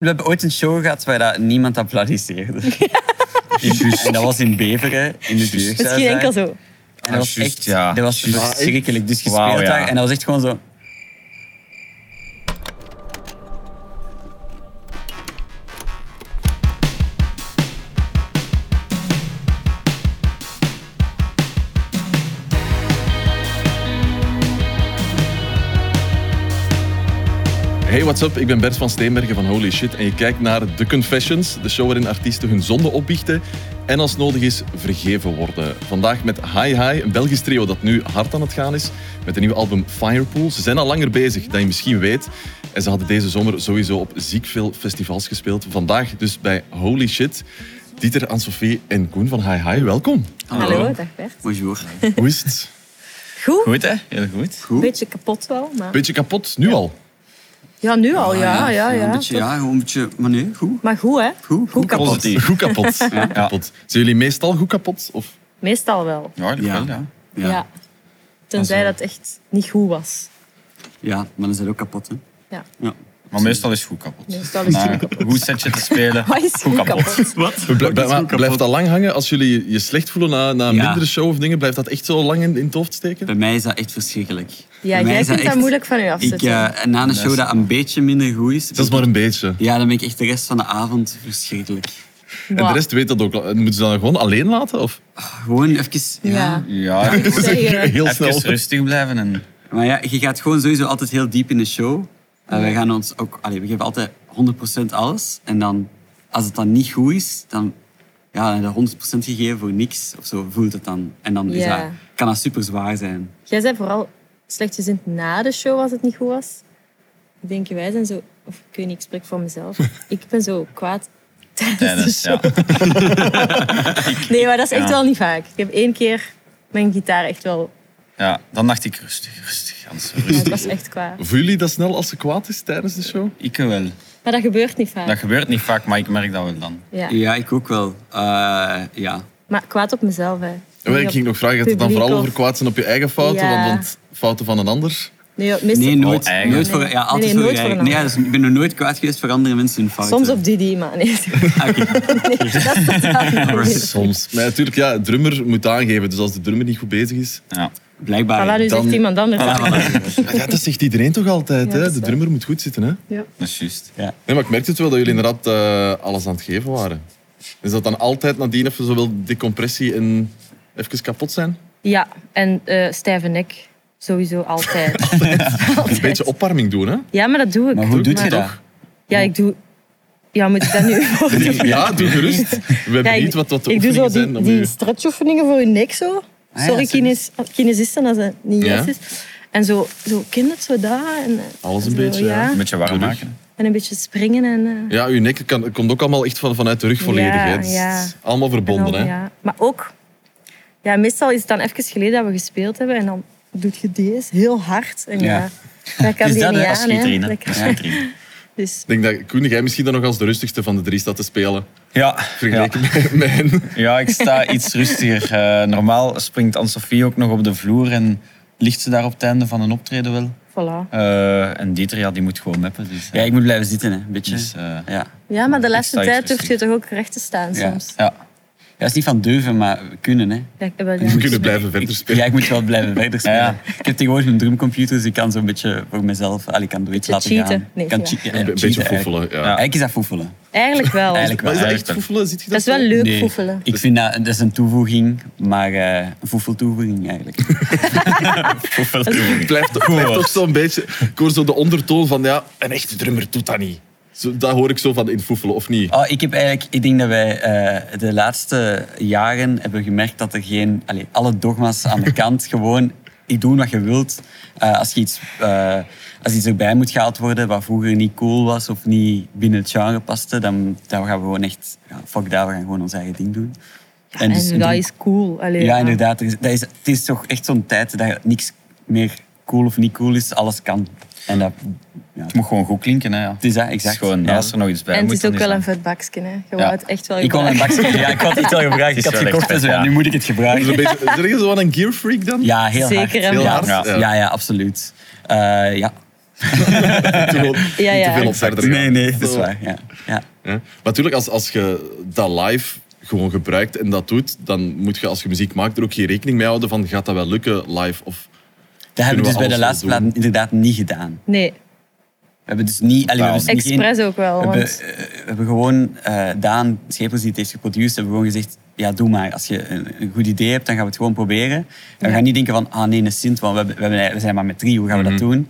We hebben ooit een show gehad waar dat niemand applaudisseerde. In- en dat was in Beveren, in de buurt. Misschien enkel zo. En dat was Juist, echt ja. dat was Juist. verschrikkelijk. Dus gespeeld Wauw, ja. daar en dat was echt gewoon zo... Hey, what's up? Ik ben Bert van Steenbergen van Holy Shit en je kijkt naar The Confessions, de show waarin artiesten hun zonde opbiechten en als nodig is vergeven worden. Vandaag met Hi Hi, een Belgisch trio dat nu hard aan het gaan is met een nieuw album Firepool. Ze zijn al langer bezig dan je misschien weet en ze hadden deze zomer sowieso op ziek veel festivals gespeeld. Vandaag dus bij Holy Shit. Dieter, Anne-Sophie en Koen van Hi Hi, welkom. Hallo, dag Bert. Bonjour. Hoe is het? Goed? Goed, hè? Heel goed. Een beetje kapot wel, maar... Beetje kapot, nu al. Ja, nu al, Ah, Ah, ja, ja, ja. Een beetje, ja, gewoon een beetje... Maar nee, goed. Maar goed, hè? Goed, goed kapot. Positief. Goed kapot. kapot. Zijn jullie meestal goed kapot? Of? Meestal wel, Ja, dat Ja. wel, ja. ja. Ja. ja. Tenzij dat echt niet goed was. maar dan zijn we ook kapot, hè. Ja. Ja. Maar meestal is het goed kapot. Meestal is het maar goed kapot. Goed setje te spelen. Wat is goed kapot? Wat? Bl- bl- maar blijft dat lang hangen als jullie je slecht voelen na, na een Ja. mindere show of dingen? Blijft dat echt zo lang in, in het hoofd steken? Bij mij is dat echt verschrikkelijk. Bij Ja, mij jij is kunt dat echt- moeilijk van je Ik, afzetten. eh, na een show dat een beetje minder goed is, Dat is maar een beetje. ja, dan ben ik echt de rest van de avond verschrikkelijk. En de Wow. rest weet dat ook. Moeten ze dan gewoon alleen laten? Of Gewoon even... Ja. Ja. Ja, Zeggen. heel snel? even rustig blijven. En... Maar ja, je gaat gewoon sowieso altijd heel diep in de show. En wij gaan ons ook... Allee, we geven altijd 100% alles. En dan, als het dan niet goed is, dan... Ja, dan heb je 100% gegeven voor niks. Of zo voelt het dan. En dan is Ja. dat, kan dat super zwaar zijn. Jij zei vooral slechtgezind na de show als het niet goed was. Ik denk, wij zijn zo... Of ik weet niet, ik spreek voor mezelf. Ik ben zo kwaad tijdens, de Tijdens, show. ja. Nee, maar dat is echt Ja. wel niet vaak. Ik heb één keer mijn gitaar echt wel... ja, dan dacht ik rustig, rustig. Hans, Ja, rustig. het was echt kwaad. voelen jullie dat snel als ze kwaad is tijdens de show? Ik wel. Maar dat gebeurt niet vaak. Dat gebeurt niet vaak, maar ik merk dat wel dan. Ja. Ja, ik ook wel. Eh, ja. Maar kwaad op mezelf, hè. Ja, ik ging nog vragen, gaat het dan Publiek vooral of- over kwaad zijn op je eigen fouten? Ja. Want, want fouten van een ander... Nee, joh, meestal... Nee, nooit. Oh, eigen. nooit voor, Nee. ja, altijd Nee, nee, voor nooit je voor eigen- een Nee, ja, dus ik ben nog nooit kwaad geweest voor andere mensen hun fouten. Soms op Didi, maar nee. Ah, Oké. dat is totaal niet nodig. Soms. Maar natuurlijk, ja, de drummer moet aangeven. Dus als de drummer niet goed bezig is... Ja. Blijkbaar. Voilà, dus- nu Dan- Ah, zegt iemand anders. dat. Maar ja, dat zegt iedereen toch altijd, Ja, dat hè? is De waar. drummer moet goed zitten, hè? Ja. Dat is juist. Nee, maar ik merkte het wel dat jullie inderdaad eh, alles aan het geven waren. Is dat dan altijd nadien even zowel decompressie en even kapot zijn? Ja, en eh stijve nek. Sowieso altijd. Altijd. Een beetje opwarming doen, hè? Ja, maar dat doe ik. Maar hoe doet je Maar- dat? Ja, ik doe... Ja, moet ik dat nu voor doen? Ja, doe gerust. We hebben Ja, ik- niet wat, wat de Ik doe zo oefeningen die, zijn. om die u- stretchoefeningen voor je nek Ah zo. ja, Sorry, zo kines, kinesisten, als dat niet Ja. juist is. En zo, zo kind het zo daar. En, eh, Alles een zo, beetje, ja. Een beetje warm Terug. maken. En een beetje springen en... eh, Ja, uw nek kan, komt ook allemaal echt van, vanuit de rug volledig. Ja, hè. Het is ja. allemaal verbonden, En dan, hè? Ja. Maar ook, ja, meestal is het dan even geleden dat we gespeeld hebben en dan doet je deze heel hard. En ja, Ja. dat kan Het die is dat, niet hè? aan. Dat schiet hè. erin, hè. Dat kan- Dat schiet erin. Dus Ik denk dat Koen, jij misschien dan nog als de rustigste van de drie staat te spelen. Ja. ja. Vergeleken met- met hen. Ja, ik sta iets rustiger. Eh, normaal springt Anne-Sophie ook nog op de vloer en ligt ze daar op het einde van een optreden wel. voilà. Eh, en Dieter, ja, die moet gewoon meppen. Dus, eh, Ja, ik moet blijven zitten, hè, een beetje. dus, eh, ja. Ja, maar de Ik laatste sta tijd iets durf je toch ook recht te staan Ja. soms. ja. Ja, is niet van durven, maar kunnen, hè. Ja, ik heb wel- ja. We kunnen blijven verder spelen. Ja, ik moet wel blijven verder spelen. Ja. Ik heb tegenwoordig een drumcomputer, dus ik kan zo'n beetje voor mezelf... Allee, ik kan door iets Beetje laten cheaten. gaan. Nee, kan ja. cheat- ja, Een be- cheaten beetje eigenlijk. foefelen. Ja. Eigenlijk is dat voefelen. Eigenlijk wel. Eigenlijk wel. Maar is dat echt Eigenlijk. foefelen? Ziet je dat, Dat is wel zo? leuk Nee, voefelen. Ik vind dat, dat is een toevoeging, maar eh, een voefeltoevoeging eigenlijk. Het blijft, het blijft toch zo'n beetje... Ik hoor zo de ondertoon van, ja, een echte drummer doet dat niet. Zo, dat hoor ik zo van in foefelen, of niet? Oh, ik, heb eigenlijk, ik denk dat wij eh, de laatste jaren hebben gemerkt dat er geen... Allee, alle dogma's aan de kant. Gewoon, ik doe wat je wilt. Eh, als, je iets, eh, als iets erbij moet gehaald worden wat vroeger niet cool was of niet binnen het genre paste, dan, dan gaan we gewoon echt... Ja, fuck dat, we gaan gewoon ons eigen ding doen. En, dus- dat is cool. Allee, Ja, inderdaad. er is- dat is, het is toch echt zo'n tijd dat niks meer cool of niet cool is. Alles kan. En dat... Ja. Het moet gewoon goed klinken, hè. Ja. Het is dat, Het is exact. gewoon, Ja. als er nog iets bij En het moet, is ook dan wel dat- een vet bakje. Hè. Je Ja. wou het echt wel Ik kon een gebruiken. bakje... Ja, ik had iets al gevraagd. is Ik had wel gekocht echt en zo. vet, ja. Nu moet ik het gebruiken. Een beetje, zeg je zo wat een gearfreak dan? Ja, heel Zeker hard. en Heel ja. hard, Ja. ja. ja, ja, absoluut. Eh, ja. te, veel- Ja, niet te ja. veel op verder gaan. Nee, nee, dat is waar. Ja. Ja. Ja. Maar natuurlijk, als, als je dat live gewoon gebruikt en dat doet, dan moet je als je muziek maakt er ook geen rekening mee houden van gaat dat wel lukken live of... Dat hebben we we dus bij de alles wel laatste doen? plaat inderdaad niet gedaan. Nee, We hebben dus niet... Allee, we hebben dus geen- expres ook wel. We hebben, Want eh, we hebben gewoon eh, Daan Schepels, die het heeft geproduceerd, hebben gewoon gezegd, ja, doe maar. Als je een, een goed idee hebt, dan gaan we het gewoon proberen. En we Ja. gaan niet denken van, ah nee, een synth, want we, hebben- we, hebben- we zijn maar met drie, hoe gaan we dat doen?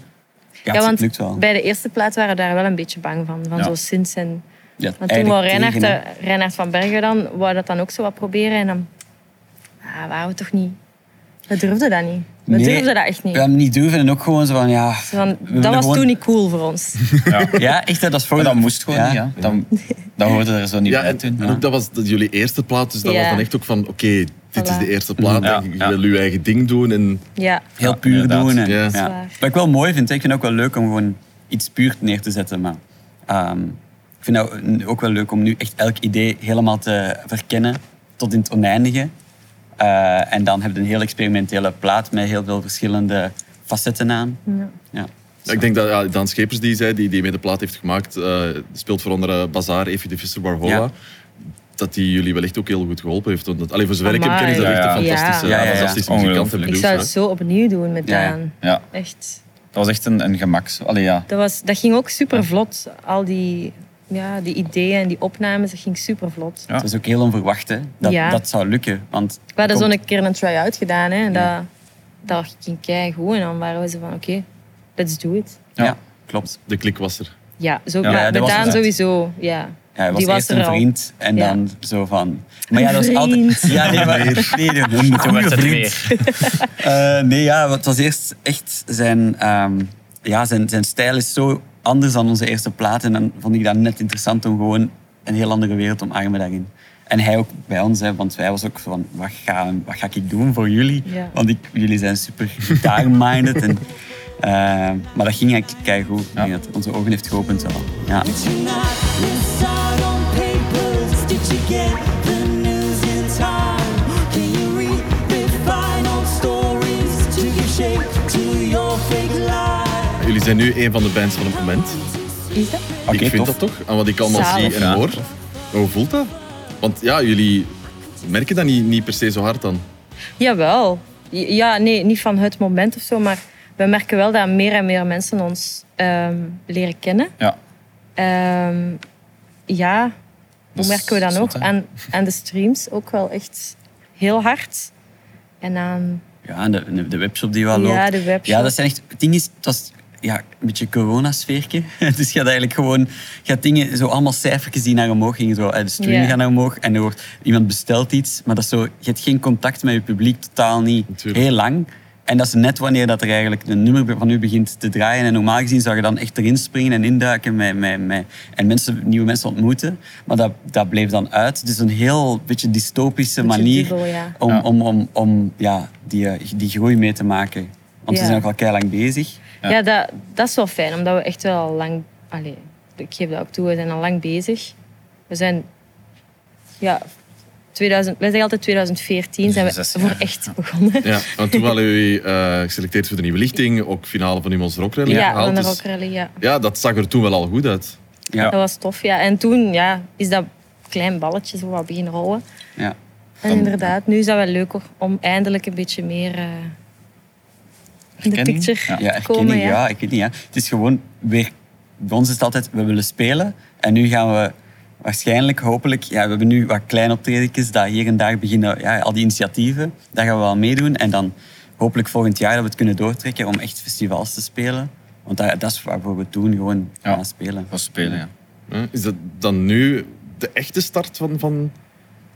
Ja, ja, het want lukt wel. bij de eerste plaat waren we daar wel een beetje bang van. Van Ja. zo sinds en... Ja, Want toen wou eigenlijk Reinhard, tegen, hè. eh, Reinhard van Bergen dan, wou dat dan ook zo wat proberen. En dan ah, waren we toch niet... We durfden dat niet. We Nee, durfden dat echt niet. We hebben niet durven en ook gewoon zo van, ja... Zo van, we dat willen was gewoon- toen niet cool voor ons. Ja, echt, hè, dat is voor Maar dat moest gewoon ja. niet, ja. Dan, dan hoorde er zo niet Ja, bij en, toen. en ook dat was de- jullie eerste plaat, dus dat Ja. was dan echt ook van oké, dit is Voilà. de eerste plaat Ja, en je ja. wil je eigen ding doen en... Ja. Heel Ja, puur inderdaad. doen. En, Ja. ja. Dat is waar. Wat ik wel mooi vind, hè, ik vind het ook wel leuk om gewoon iets puur neer te zetten. Maar ehm, ik vind het ook wel leuk om nu echt elk idee helemaal te verkennen tot in het oneindige. Eh, en dan heb je een heel experimentele plaat met heel veel verschillende facetten aan. Ja. Ja. Ja, ik denk dat ja, Daan Schepers, die, zei, die, die mee de plaat heeft gemaakt, eh, speelt voor andere Bazaar, Evie de Visser, Barhola. Ja. Dat die jullie wel echt ook heel goed geholpen heeft. Want, dat- allee, voor zover ik hem Amai. ken, is dat Ja, echt een ja. fantastische, Ja, ja, ja. dus, fantastische muzikant. en Ongelooflijk. Ik producer, zou hè. het zo opnieuw doen met Ja, ja. Daan. Ja, Echt. dat was echt een, een gemaks. Allee, ja. Dat, was, dat ging ook super vlot. Al die, ja, die ideeën en die opnames, dat ging super vlot. Ja. Het is ook heel onverwacht hè, dat Ja. dat zou lukken. Want We hadden komt- zo'n keer een try-out gedaan hè, en dat, dat ging keigoed. En dan waren we zo van, oké, let's do it. Ja, Ja. klopt. De klik was er. Ja, zo, Ja, maar ja, dat met was Daan het. sowieso. Ja. Ja, hij was die was eerst er een al. vriend en Ja. dan zo van... Maar ja, dat was Een altijd... vriend. Ja, nee, maar... Nee, nee, een goede vriend. Eh, nee, ja, het was eerst echt zijn, ehm, ja, zijn, zijn stijl is zo anders dan onze eerste plaat. En dan vond ik dat net interessant om gewoon een heel andere wereld omarmen daarin. En hij ook bij ons, hè, want hij was ook van, wat ga, wat ga ik doen voor jullie? Ja. Want ik, jullie zijn super gitaar-minded. en, eh, maar dat ging eigenlijk keigoed. Ik denk dat het onze ogen heeft geopend wel. Ja. Did you not miss out on papers? Did you get the news in time? Can you read the final stories to give shape to your fake life? Jullie zijn nu een van de bands van het moment. Is dat? Oké, ik vind tof. dat toch, aan wat ik allemaal Zalig. zie en hoor. Maar hoe voelt dat? Want ja, jullie merken dat niet, niet per se zo hard dan. Jawel. Ja, nee, niet van het moment of zo, maar we merken wel dat meer en meer mensen ons ehm, leren kennen. Ja. Ehm, ja, Dat hoe is merken we dat zot, nog? hè? Aan, aan de streams ook wel echt heel hard. En ehm, aan... Ja, en de, de webshop die wel Ja, loopt. de webshop. Ja, dat zijn echt... Het ding is, het was ja, een beetje coronasfeertje. Dus je had eigenlijk gewoon... Je had dingen, zo allemaal cijfertjes die naar omhoog gingen. Zo, eh, de stream Ja. gaat naar omhoog en er wordt... Iemand bestelt iets, maar dat is zo... Je hebt geen contact met je publiek, totaal niet. Natuurlijk. Heel lang. En dat is net wanneer dat er eigenlijk een nummer van u begint te draaien. En normaal gezien zou je dan echt erin springen en induiken met, met, met, en mensen, nieuwe mensen ontmoeten. Maar dat, dat bleef dan uit. Dus een heel beetje dystopische Beetje manier dubbel, ja. om, Ja. om, om, om ja, die, eh, die groei mee te maken. Want Ja. we zijn ook al keihard lang bezig. Ja, dat, dat is wel fijn, omdat we echt wel al lang... Allee, ik geef dat ook toe, we zijn al lang bezig. We zijn... Ja, 2000, wij zeggen altijd 2014 zijn we Dus Zes jaar. voor echt begonnen. Ja, want toen waren jullie eh, geselecteerd voor de Nieuwe Lichting, ook finale van Humans Rock Rally Ja, gehaald. van de dus- Rock Rally, ja. ja, dat zag er toen wel al goed uit. Ja. Dat was tof, ja. En toen ja, is dat klein balletje zo wat beginnen rollen. Ja. En inderdaad, nu is dat wel leuk hoor, om eindelijk een beetje meer eh, in de Erkenning? picture Ja. Ja, te herkenning, komen. ja. Ja. ik weet niet. Hè. Het is gewoon weer... Bij ons is het altijd, we willen spelen. En nu gaan we waarschijnlijk, hopelijk... Ja, we hebben nu wat kleine optredentjes dat hier en daar beginnen. Ja, al die initiatieven, daar gaan we wel meedoen. En dan hopelijk volgend jaar dat we het kunnen doortrekken om echt festivals te spelen. Want dat, dat is waarvoor we het doen, gewoon Ja. gaan spelen. was spelen, ja. Hè? Is dat dan nu de echte start van, van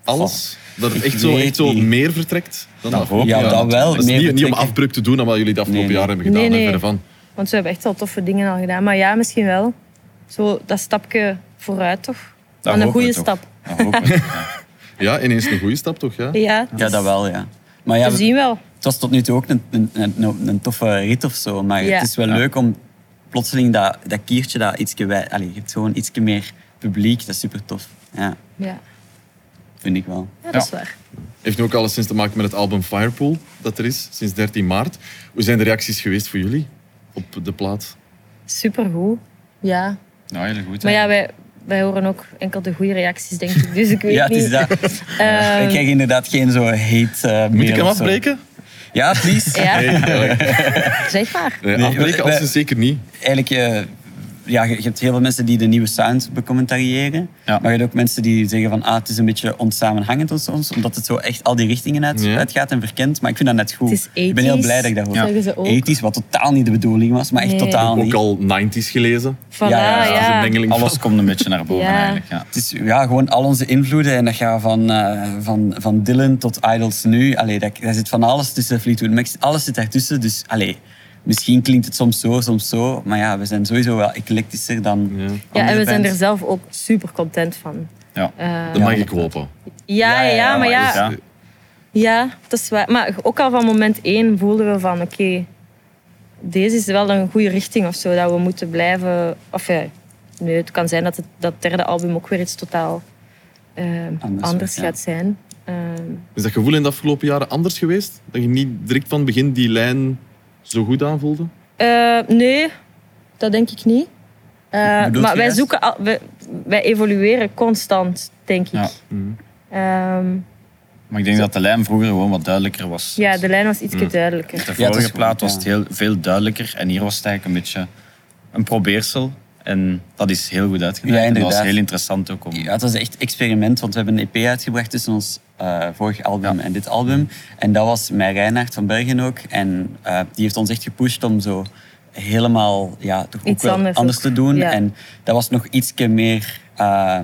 alles? Dat het ik echt zo, weet echt zo niet. meer vertrekt dan Dat daarvoor? hoop Ja, Ja, dat wel. Dat is meer niet, niet om betrekken. afbreuk te doen aan wat jullie de afgelopen Nee, nee. jaren hebben gedaan. Nee, en nee. verre van. Want we hebben echt wel toffe dingen al gedaan. Maar ja, misschien wel. Zo dat stapje vooruit toch? Dat Maar een hopen we goede toch. stap. Dat hopen we. Ja, ineens een goede stap toch? Ja? Ja, Ja, dat wel, ja. Maar ja, We we- zien wel. het was tot nu toe ook een, een, een, een toffe rit of zo. Maar Ja. het is wel leuk om plotseling dat, dat kiertje, dat ietsje wij, allez, je hebt gewoon ietsje meer publiek. Dat is super tof. Ja, Ja, vind ik wel. ja dat Ja. is waar. Heeft nu ook alleszins te maken met het album Firepool dat er is sinds 13 maart. Hoe zijn de reacties geweest voor jullie op de plaat? supergoed. Ja. Nou, heel goed. Maar hè. ja, wij, wij horen ook enkel de goede reacties, denk ik. Dus ik weet Ja, het niet. is dat. Ehm, Ik krijg inderdaad geen zo heet eh Moet mail ik hem of zo. afbreken? Ja, please. ja, Nee, zeg maar. nee, Nee, afbreken wij- als ze zeker niet. Eigenlijk, eh, ja, je je hebt heel veel mensen die de nieuwe sound becommentariëren. Ja. Maar je hebt ook mensen die zeggen van, ah, het is een beetje onsamenhangend of soms. Omdat het zo echt al die richtingen uit, Ja. uitgaat en verkent. Maar ik vind dat net goed. Het is ik ben heel 80s, blij dat ik dat hoor. zeggen ze ook. 80s, wat totaal niet de bedoeling was. Maar echt Nee. totaal niet. Ook al 90s gelezen. Voilà, ja, ah, ja. het is Dat is een mengeling van- Alles komt een beetje naar boven Ja. eigenlijk. Ja. Het is ja, gewoon al onze invloeden. En dat gaat van, eh, van, van Dylan tot Idols nu. Allee, dat, daar zit van alles tussen. Fleetwood Mac, alles zit daartussen. Dus allee, misschien klinkt het soms zo, soms zo. Maar ja, we zijn sowieso wel eclectischer dan Ja. andere Ja, en we zijn er bands. zelf ook super content van. Ja. Eh, Dat mag ik hopen. ja, ja, ja, maar ja, Ja. eh, ja, dat is waar. Maar ook al van moment één voelden we van, oké, deze is wel een goede richting of zo, dat we moeten blijven... Of ja, nee, het kan zijn dat het dat derde album ook weer iets totaal eh, Anders anders, wordt, ja. gaat zijn. Ehm, Is dat gevoel in de afgelopen jaren anders geweest? Dat je niet direct van het begin die lijn zo goed aanvoelde? Eh, nee, dat denk ik niet. Eh, Bedoelt maar je wij juist? zoeken, al- wij, wij evolueren constant, denk ik. Ehm, Ja. Ja. mhm. Maar ik denk dat de lijn vroeger gewoon wat duidelijker was. ja, de lijn was iets duidelijker. De Ja, het vorige is goed, plaat was ja. het heel, veel duidelijker en hier was het eigenlijk een beetje een probeersel. En dat is heel goed uitgedraaid. Ja, en dat was inderdaad. heel interessant ook om... Ja, het was echt experiment, want we hebben een EP uitgebracht tussen ons eh vorig album en dit album. En dat was met Reinhard van Bergen ook. En eh, die heeft ons echt gepusht om zo helemaal ja, toch ook Iets wel anders anders, ook, te doen. ja. En dat was nog ietsje meer eh,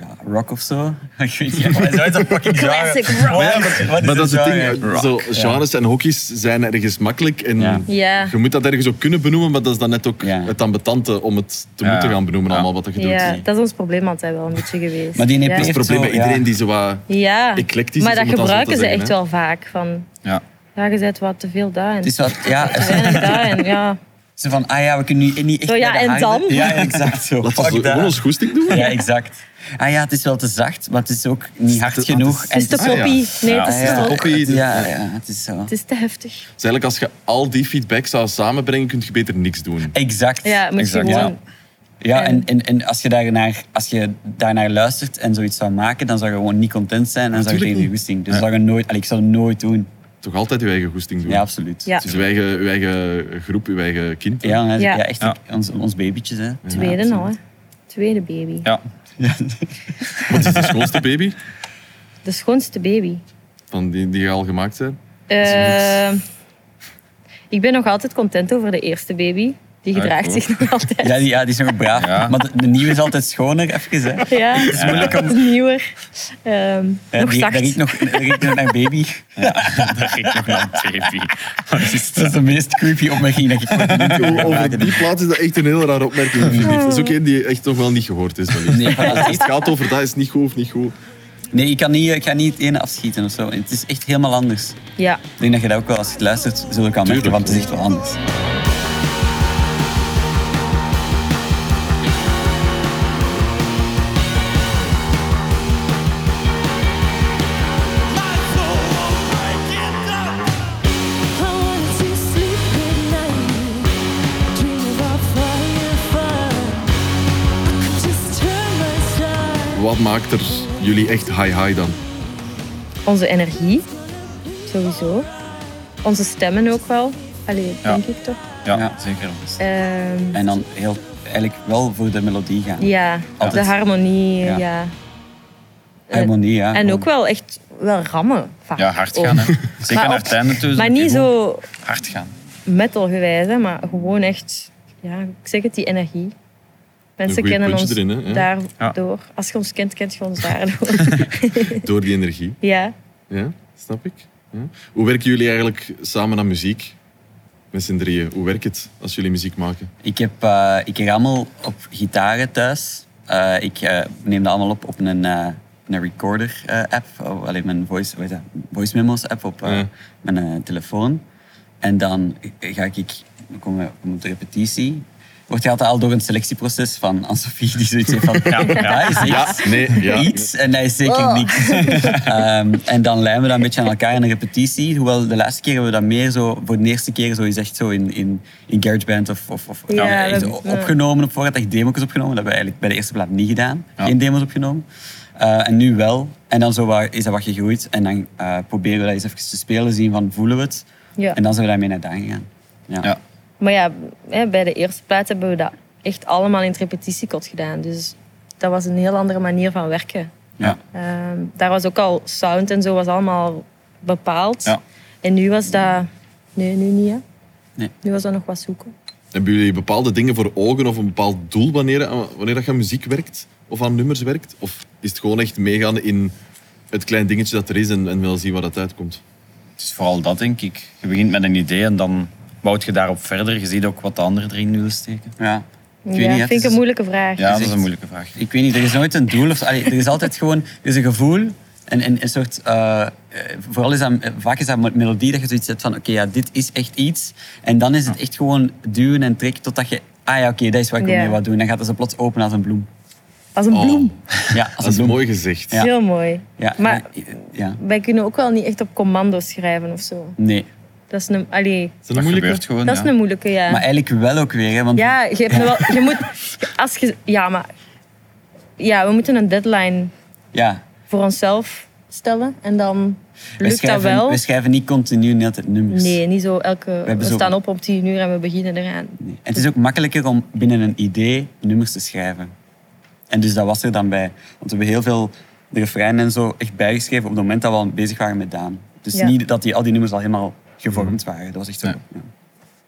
ja, rock of zo. Ik weet niet, wat is dat fucking genre? Classic rock. Wat is- wat is Maar dat is het een ding. genre? Zo, Rock, ja. genres en hokjes zijn ergens makkelijk. En Ja. Ja. Je moet dat ergens ook kunnen benoemen, maar dat is dan net ook Ja. het ambetante om het te Ja. moeten gaan benoemen, Ja. allemaal wat je doet. Ja, Dat dat is ons probleem altijd wel een beetje geweest. Maar die ja. NEP is het Echt probleem zo, bij iedereen ja. die zo wat... Ja, eclectisch maar is, dat om het dan zo gebruiken te ze zeggen, echt hè? wel vaak. Van, Ja. ja, je zet wat te veel daar en Het is wat, ja, te weinig daar. En, ja. ze van, ah ja, we kunnen nu niet echt Zo, ja, bij de en harde- dan? Ja, exact zo. Laten we Fuck zo- dat. gewoon ons goesting doen. Ja, exact. Ah ja, het is wel te zacht, maar het is ook niet hard te- genoeg. het Het is te En Ah, ja. poppy. Nee, het Ah, is, ja. te, poppy. Het- Ja, ja, het is zo. het is te heftig. Dus eigenlijk, als je al die feedback zou samenbrengen, kun je beter niks doen. Exact. Ja, moet je Exact, ja. gewoon... Ja, en, En- en, en als, je daarnaar, als je daarnaar luistert en zoiets zou maken, dan zou je gewoon niet content zijn en zou je Natuurlijk tegen je niet. goesting. Dus dat zou je nooit, allee, ik zou het nooit doen. Toch altijd je eigen goesting doen. Ja, absoluut. Ja. Het is je eigen, je eigen groep, je eigen kind. Ja, hè, dus Ja. ja, echt Ja. Ons, ons babytjes. Hè. Tweede nou, hè. Tweede baby. Ja. Wat is de schoonste baby De schoonste baby. van die, die je al gemaakt hebt? Eh, ik ben nog altijd content over de eerste baby. Die Ah, gedraagt cool. zich nog altijd. Ja, die, ja, die is nog braaf. Ja. Maar de, de nieuwe is altijd schoner, even. Hè. Eh, Ja, het is moeilijk is nieuwer. Ehm, Ja, nog die, dat zacht. riekt nog, dat riekt nog naar baby. Dat ging nog naar een baby. Wat is Dat dat? is de meest creepy opmerking dat ik ooit in een interview heb Over gemaakt. die plaats is dat echt een heel rare opmerking. vind ik. Dat is ook één die echt nog wel niet gehoord is. wellicht. Nee, voilà. Als het gaat over dat is niet goed of niet goed. Nee, ik, kan niet, ik ga niet het ene afschieten of zo. Het is echt helemaal anders. Ja, Ik denk dat je dat ook wel als je het luistert zult kan merken, Tuurlijk. want het is echt wel anders. Wat maakt er jullie echt high-high dan? onze energie. Sowieso. Onze stemmen ook wel. Allee, Ja. denk ik toch. Ja, Ja. zeker. Ehm, En dan heel, eigenlijk wel voor de melodie gaan. ja, de Altijd. harmonie. Ja. Ja. Harmonie, ja. eh, En ook wel echt wel rammen. vaak Ja, hard ook. gaan. Hè. Zeker Oh. Maar naar ook- het einde toe. Maar niet Gewoon zo Hard gaan. metalgewijs, hè, maar gewoon echt, ja, ik zeg het, die energie. Mensen goeie kennen ons puntje erin, hè, ja. daardoor. Als je ons kent, kent je ons daardoor. Door die energie. ja. Ja, snap ik. Ja. Hoe werken jullie eigenlijk samen aan muziek? Met z'n drieën. Hoe werkt het als jullie muziek maken? Ik, heb, eh ik rammel op gitaren thuis. Eh, ik eh, neem dat allemaal op op een, eh, een eh, recorder-app. alleen Oh, mijn voice, hoe heet dat? voice memos-app op eh, Ja. mijn eh, telefoon. En dan ga ik, dan komen we op de repetitie. wordt je altijd al door een selectieproces van Anne-Sophie die zoiets heeft van ja, dat is Ja, iets, nee, ja. iets en dat is zeker Oh. niks. Ehm, en dan lijmen we dat een beetje aan elkaar in een repetitie. Hoewel de laatste keer hebben we dat meer zo, voor de eerste keer zo is echt zo in, in, in GarageBand of, of, of Ja, eh, echt dat- op- opgenomen op voorhand, echt demo's opgenomen. Dat hebben we eigenlijk bij de eerste plaat niet gedaan. Geen demo's opgenomen. Eh, en nu wel. En dan zo wat- is dat wat gegroeid. En dan eh, proberen we dat eens even te spelen, zien van voelen we het. Ja. En dan zijn we daarmee naar daar gegaan. Ja. Ja. Maar ja, hè, bij de eerste plaat hebben we dat echt allemaal in het repetitiekot gedaan. Dus dat was een heel andere manier van werken. Ja. Ehm, daar was ook al sound en zo was allemaal bepaald. Ja. En nu was dat... Nee, nu niet, hè? Nee. Nu was dat nog wat zoeken. Hebben jullie bepaalde dingen voor ogen of een bepaald doel wanneer, wanneer dat je aan muziek werkt? Of aan nummers werkt? Of is het gewoon echt meegaan in het klein dingetje dat er is en, en wel zien waar dat uitkomt? Het is vooral dat, denk ik. Je begint met een idee en dan bouwt je daarop verder. Je ziet ook wat de anderen erin willen steken. Ja. Ik weet ja, niet, hè, het vind ik is- een moeilijke vraag. Ja, dat is echt- een moeilijke vraag. ik weet niet, er is nooit een doel. Of, allee, er is altijd gewoon er is een gevoel. En, en een soort, eh, eh, vooral is dat, eh, vaak is dat met melodie dat je zoiets hebt van oké, ja, dit is echt iets. En dan is het echt gewoon duwen en trekken totdat je, ah ja, oké, dat is wat ik Ja. mee wil doen. Dan gaat het zo plots open als een bloem. Als een Oh, bloem. Ja, als dat is een bloem. mooi gezegd. Ja. Heel mooi. Ja, maar ja, ja. wij kunnen ook wel niet echt op commando schrijven of zo. Nee. Dat is een, allee, Is Dat, dat een moeilijke? gebeurt gewoon, dat is ja. een moeilijke, ja. Maar eigenlijk wel ook weer, hè, want Ja, je, hebt wel, je moet... Als je, ja, maar... Ja, we moeten een deadline ja, voor onszelf stellen. En dan we, lukt dat schrijven, wel. we schrijven niet continu net het nummers. Nee, niet zo elke... We, hebben zo- staan op om tien uur en we beginnen eraan. Nee. En het is ook makkelijker om binnen een idee nummers te schrijven. En dus dat was er dan bij. Want we hebben heel veel de refreinen en zo echt bijgeschreven op het moment dat we al bezig waren met Daan. Dus Ja. niet dat die, al die nummers al helemaal gevormd waren. Dat was echt zo. Ja.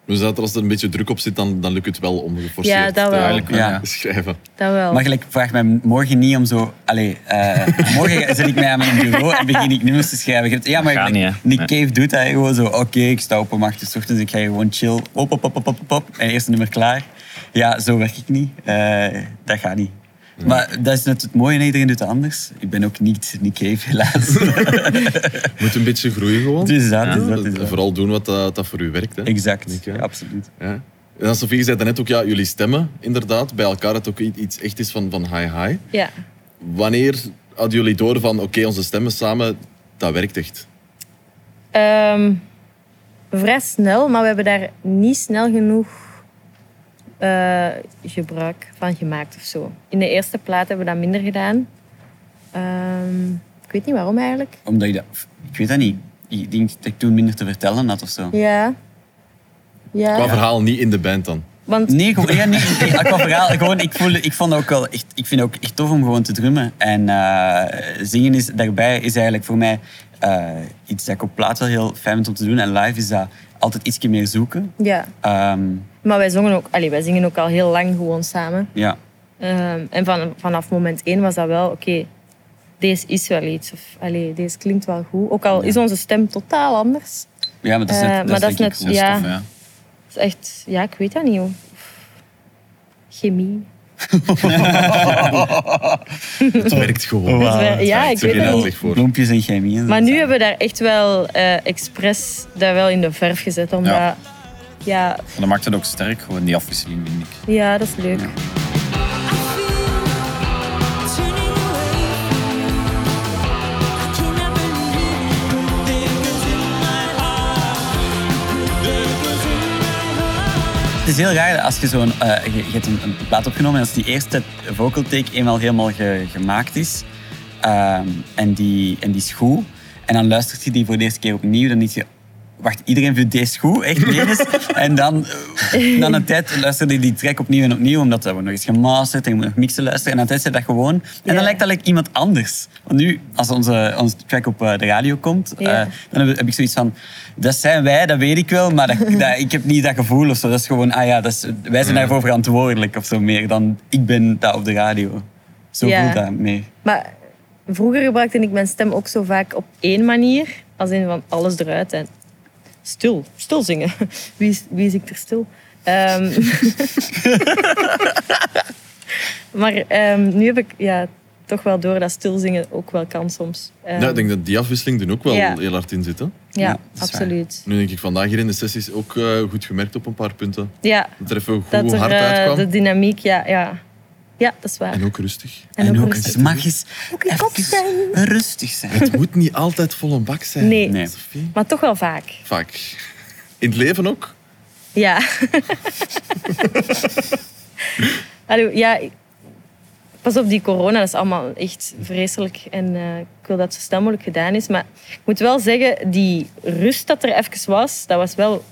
Dus dat er als er een beetje druk op zit, dan, dan lukt het wel om geforceerd Ja, dat te- wel. Eigenlijk wel, Ja. ja. te schrijven. Dat wel. Maar gelijk, vraag mij morgen niet om zo... Allee, eh, morgen zit ik mij aan mijn bureau en begin ik nummers te schrijven. Je hebt- ja, maar Dat gaat gelijk, niet, hè? Nick Cave doet dat hè, gewoon zo. Oké, ik sta op om acht uur 's ochtends, ik ga hier gewoon chill. Op, op, op, op, op, op, op. En eerst een nummer klaar. Ja, zo werk ik niet. Eh, dat gaat niet. Maar dat is net het mooie, hè, iedereen doet het anders. Ik ben ook niet Nick Cave, helaas. Moet een beetje groeien gewoon. Dus dat, Ja, dus dat, dus en dat. Vooral doen wat dat, dat voor u werkt. Hè. Exact, Denk je, hè? ja, absoluut. Ja. En dan Sofie, je zei net ook, ja, jullie stemmen inderdaad bij elkaar. Dat het ook i- iets echt is van, van hi-hi. Ja. Wanneer hadden jullie door van, oké, onze stemmen samen, dat werkt echt? Ehm, vrij snel, maar we hebben daar niet snel genoeg eh, gebruik van gemaakt of zo. In de eerste plaat hebben we dat minder gedaan. Ehm, ik weet niet waarom eigenlijk. Omdat je dat... Ik weet dat niet. Ik denk dat ik toen minder te vertellen had of zo. Ja. Ja. Qua verhaal niet in de band dan. Want Nee, gewoon, ja, nee, nee, aqua verhaal. Gewoon, ik, voel, ik, vond ook wel echt, ik vind het ook echt tof om gewoon te drummen. En eh, zingen is, daarbij is eigenlijk voor mij eh, iets dat ik op plaat wel heel fijn vind om te doen. En live is dat altijd ietsje meer zoeken. ja. Ehm, Maar wij, zongen ook, allee, wij zingen ook al heel lang gewoon samen. ja. Ehm, en van, vanaf moment één was dat wel, oké, deze is wel iets. Of allee, deze klinkt wel goed. Ook al is onze stem totaal anders. ja, maar dat is net... Eh, maar dat is denk net- ik Dat is Ja. tof, ja. Het is echt, ja, ik weet dat niet. hoor. Chemie. Het werkt Oh, gewoon. Dus wij- ja, ik Sorry, weet het daar had niet. ik voor. Bloempjes en chemie. en zo. Maar nu hebben we daar echt wel eh, expres daar wel in de verf gezet. Omdat, ja, Ja. ja, En dat maakt het ook sterk, gewoon die afwisseling, vind ik. dat is leuk. Het is heel raar als je zo'n... eh, je, je hebt een, een plaat opgenomen en als die eerste vocal take eenmaal helemaal ge- gemaakt is... ehm, en, die, en die is goed... En dan luistert je die voor de eerste keer opnieuw, dan denk je... Wacht, iedereen vindt deze goed, echt menens. en dan, eh, na een tijd luisterde je die track opnieuw en opnieuw, omdat er wordt nog eens gemasterd en je moet nog mixen luisteren. En dan tijd zit dat gewoon. En dan Ja. lijkt dat like iemand anders. Want nu, als onze, onze track op eh, de radio komt, Ja. eh, dan heb, heb ik zoiets van, dat zijn wij, dat weet ik wel, maar dat, dat- ik heb niet dat gevoel of zo. Dat is gewoon, ah ja, dat is, wij zijn daarvoor verantwoordelijk of zo meer dan ik ben dat op de radio. Zo Ja. voelt dat meer. Maar vroeger gebruikte ik mijn stem ook zo vaak op één manier. Als in van alles eruit en stil, stil zingen. Wie, is- wie is ik er stil? Ehm, maar ehm, nu heb ik, ja, toch wel door dat stilzingen ook wel kan soms. Eh, Ja, ik denk dat die afwisseling er ook wel Ja. heel hard in zit. Hè? ja, Ja, dat is waar. absoluut. Nu denk ik vandaag hier in de sessies ook eh, goed gemerkt op een paar punten. Ja, Dat er even goed dat er hard eh, uitkwam. de dynamiek, ja, ja. Ja, dat is waar. En ook rustig. En ook, rustig. het mag eens Ook je kop even zijn. rustig zijn. Het moet niet altijd vol een bak zijn. Nee. Nee. Sophie. Maar toch wel vaak. Vaak. In het leven ook. Ja. Allee, ja, ik- pas op die corona, dat is allemaal echt vreselijk. En eh, ik wil dat het zo snel mogelijk gedaan is. Maar ik moet wel zeggen, die rust dat er even was, dat was wel...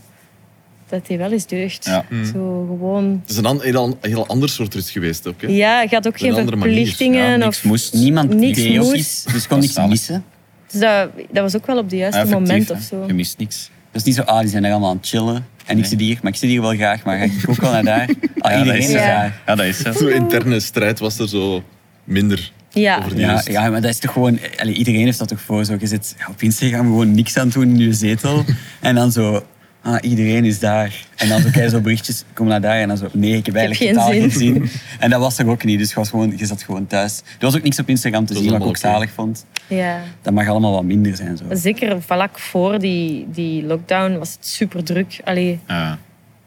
Dat die wel eens deugd. Ja. Zo gewoon... Het is een an- heel, an- heel ander soort rust geweest ook. Hè? Ja, je had ook een geen andere manier. verplichtingen. Ja, niks of, moest. Niemand Niks deed ook moest. iets, dus kon niks Zalig. missen. Dus dat, dat was ook wel op de juiste Effectief, moment hè. of zo. Je mist niks. Dus niet zo, ah, die zijn daar allemaal aan het chillen. En ik zit hier, maar ik zit hier wel graag, maar ga ik ook wel naar daar? Ah, Ja, dat iedereen is is zo. Ja. daar. Ja, dat is zo. Zo'n interne strijd was er zo minder. Ja, Over die- Ja, Juist. ja, maar dat is toch gewoon... allee, iedereen heeft dat toch voor? Zo, je zit op Instagram gewoon niks aan het doen in je zetel. en dan zo... Ah, iedereen is daar. En dan zo krijg je zo berichtjes, kom naar daar. En dan zo, nee, ik heb eigenlijk geen totaal zin. geen zin. En dat was toch ook niet. Dus je, was gewoon, je zat gewoon thuis. Er was ook niks op Instagram te Dat zien, is wat ik ook allemaal oké. zalig vond. ja. Dat mag allemaal wat minder zijn. Zo. Zeker vlak voor die, die lockdown was het super druk. Allee, Ja.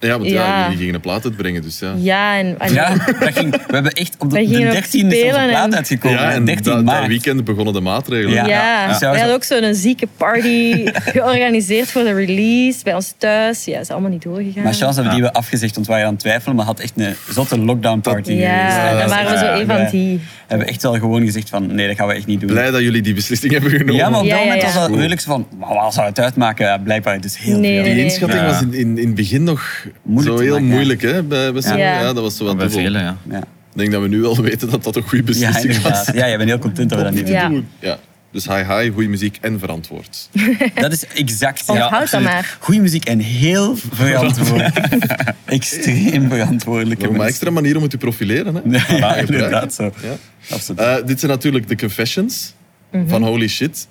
Ja, want ja. Ja. jullie gingen een plaat uitbrengen, dus ja. ja, en, allee, Ja, dat ging, we hebben echt op de, Wij de gingen ook 13e is onze spelen plaat en- uitgekomen. Ja, hè, en 13 dat, dat maart. weekend begonnen de maatregelen. Ja. Ja, ja. wij hadden ook zo'n zieke party georganiseerd voor de release bij ons thuis. Ja, is allemaal niet doorgegaan. Maar chance hebben die we afgezegd, want we waren aan het twijfelen, maar had echt een zotte lockdown party Dus, eh, geweest. Ja, En dan dat is waren we echt- zo een van wij die. hebben echt wel gewoon gezegd van, nee, dat gaan we echt niet doen. Blij dat jullie die beslissing hebben genomen. Ja, maar op Ja, dat ja, moment ja. was dat redelijk zo van, maar waar zou het uitmaken? Ja, blijkbaar dus heel Nee, veel. nee, Die nee. inschatting Ja. was in, in, in het begin nog Moeilijk zo te heel maken, ja. moeilijk, hè? Bij, bij sommigen. Ja. ja. dat was zo wat Bij dubbel. velen, ja. Ja, Ik denk dat we nu wel weten dat dat een goede ja beslissing was. inderdaad. Ja, je bent heel content dat we dat niet doen. Ja. Ja. Dus hi hi, goede muziek en verantwoord. Dat is exact. Onthoud dat absoluut. maar. Goeie muziek en heel verantwoordelijk. Extreem verantwoordelijk. Nog een extra manier om het te profileren. Hè? Ja, Voilà, gebruik. inderdaad zo. Ja. Absoluut. Eh, dit zijn natuurlijk de confessions Mhm. van Holy Shit.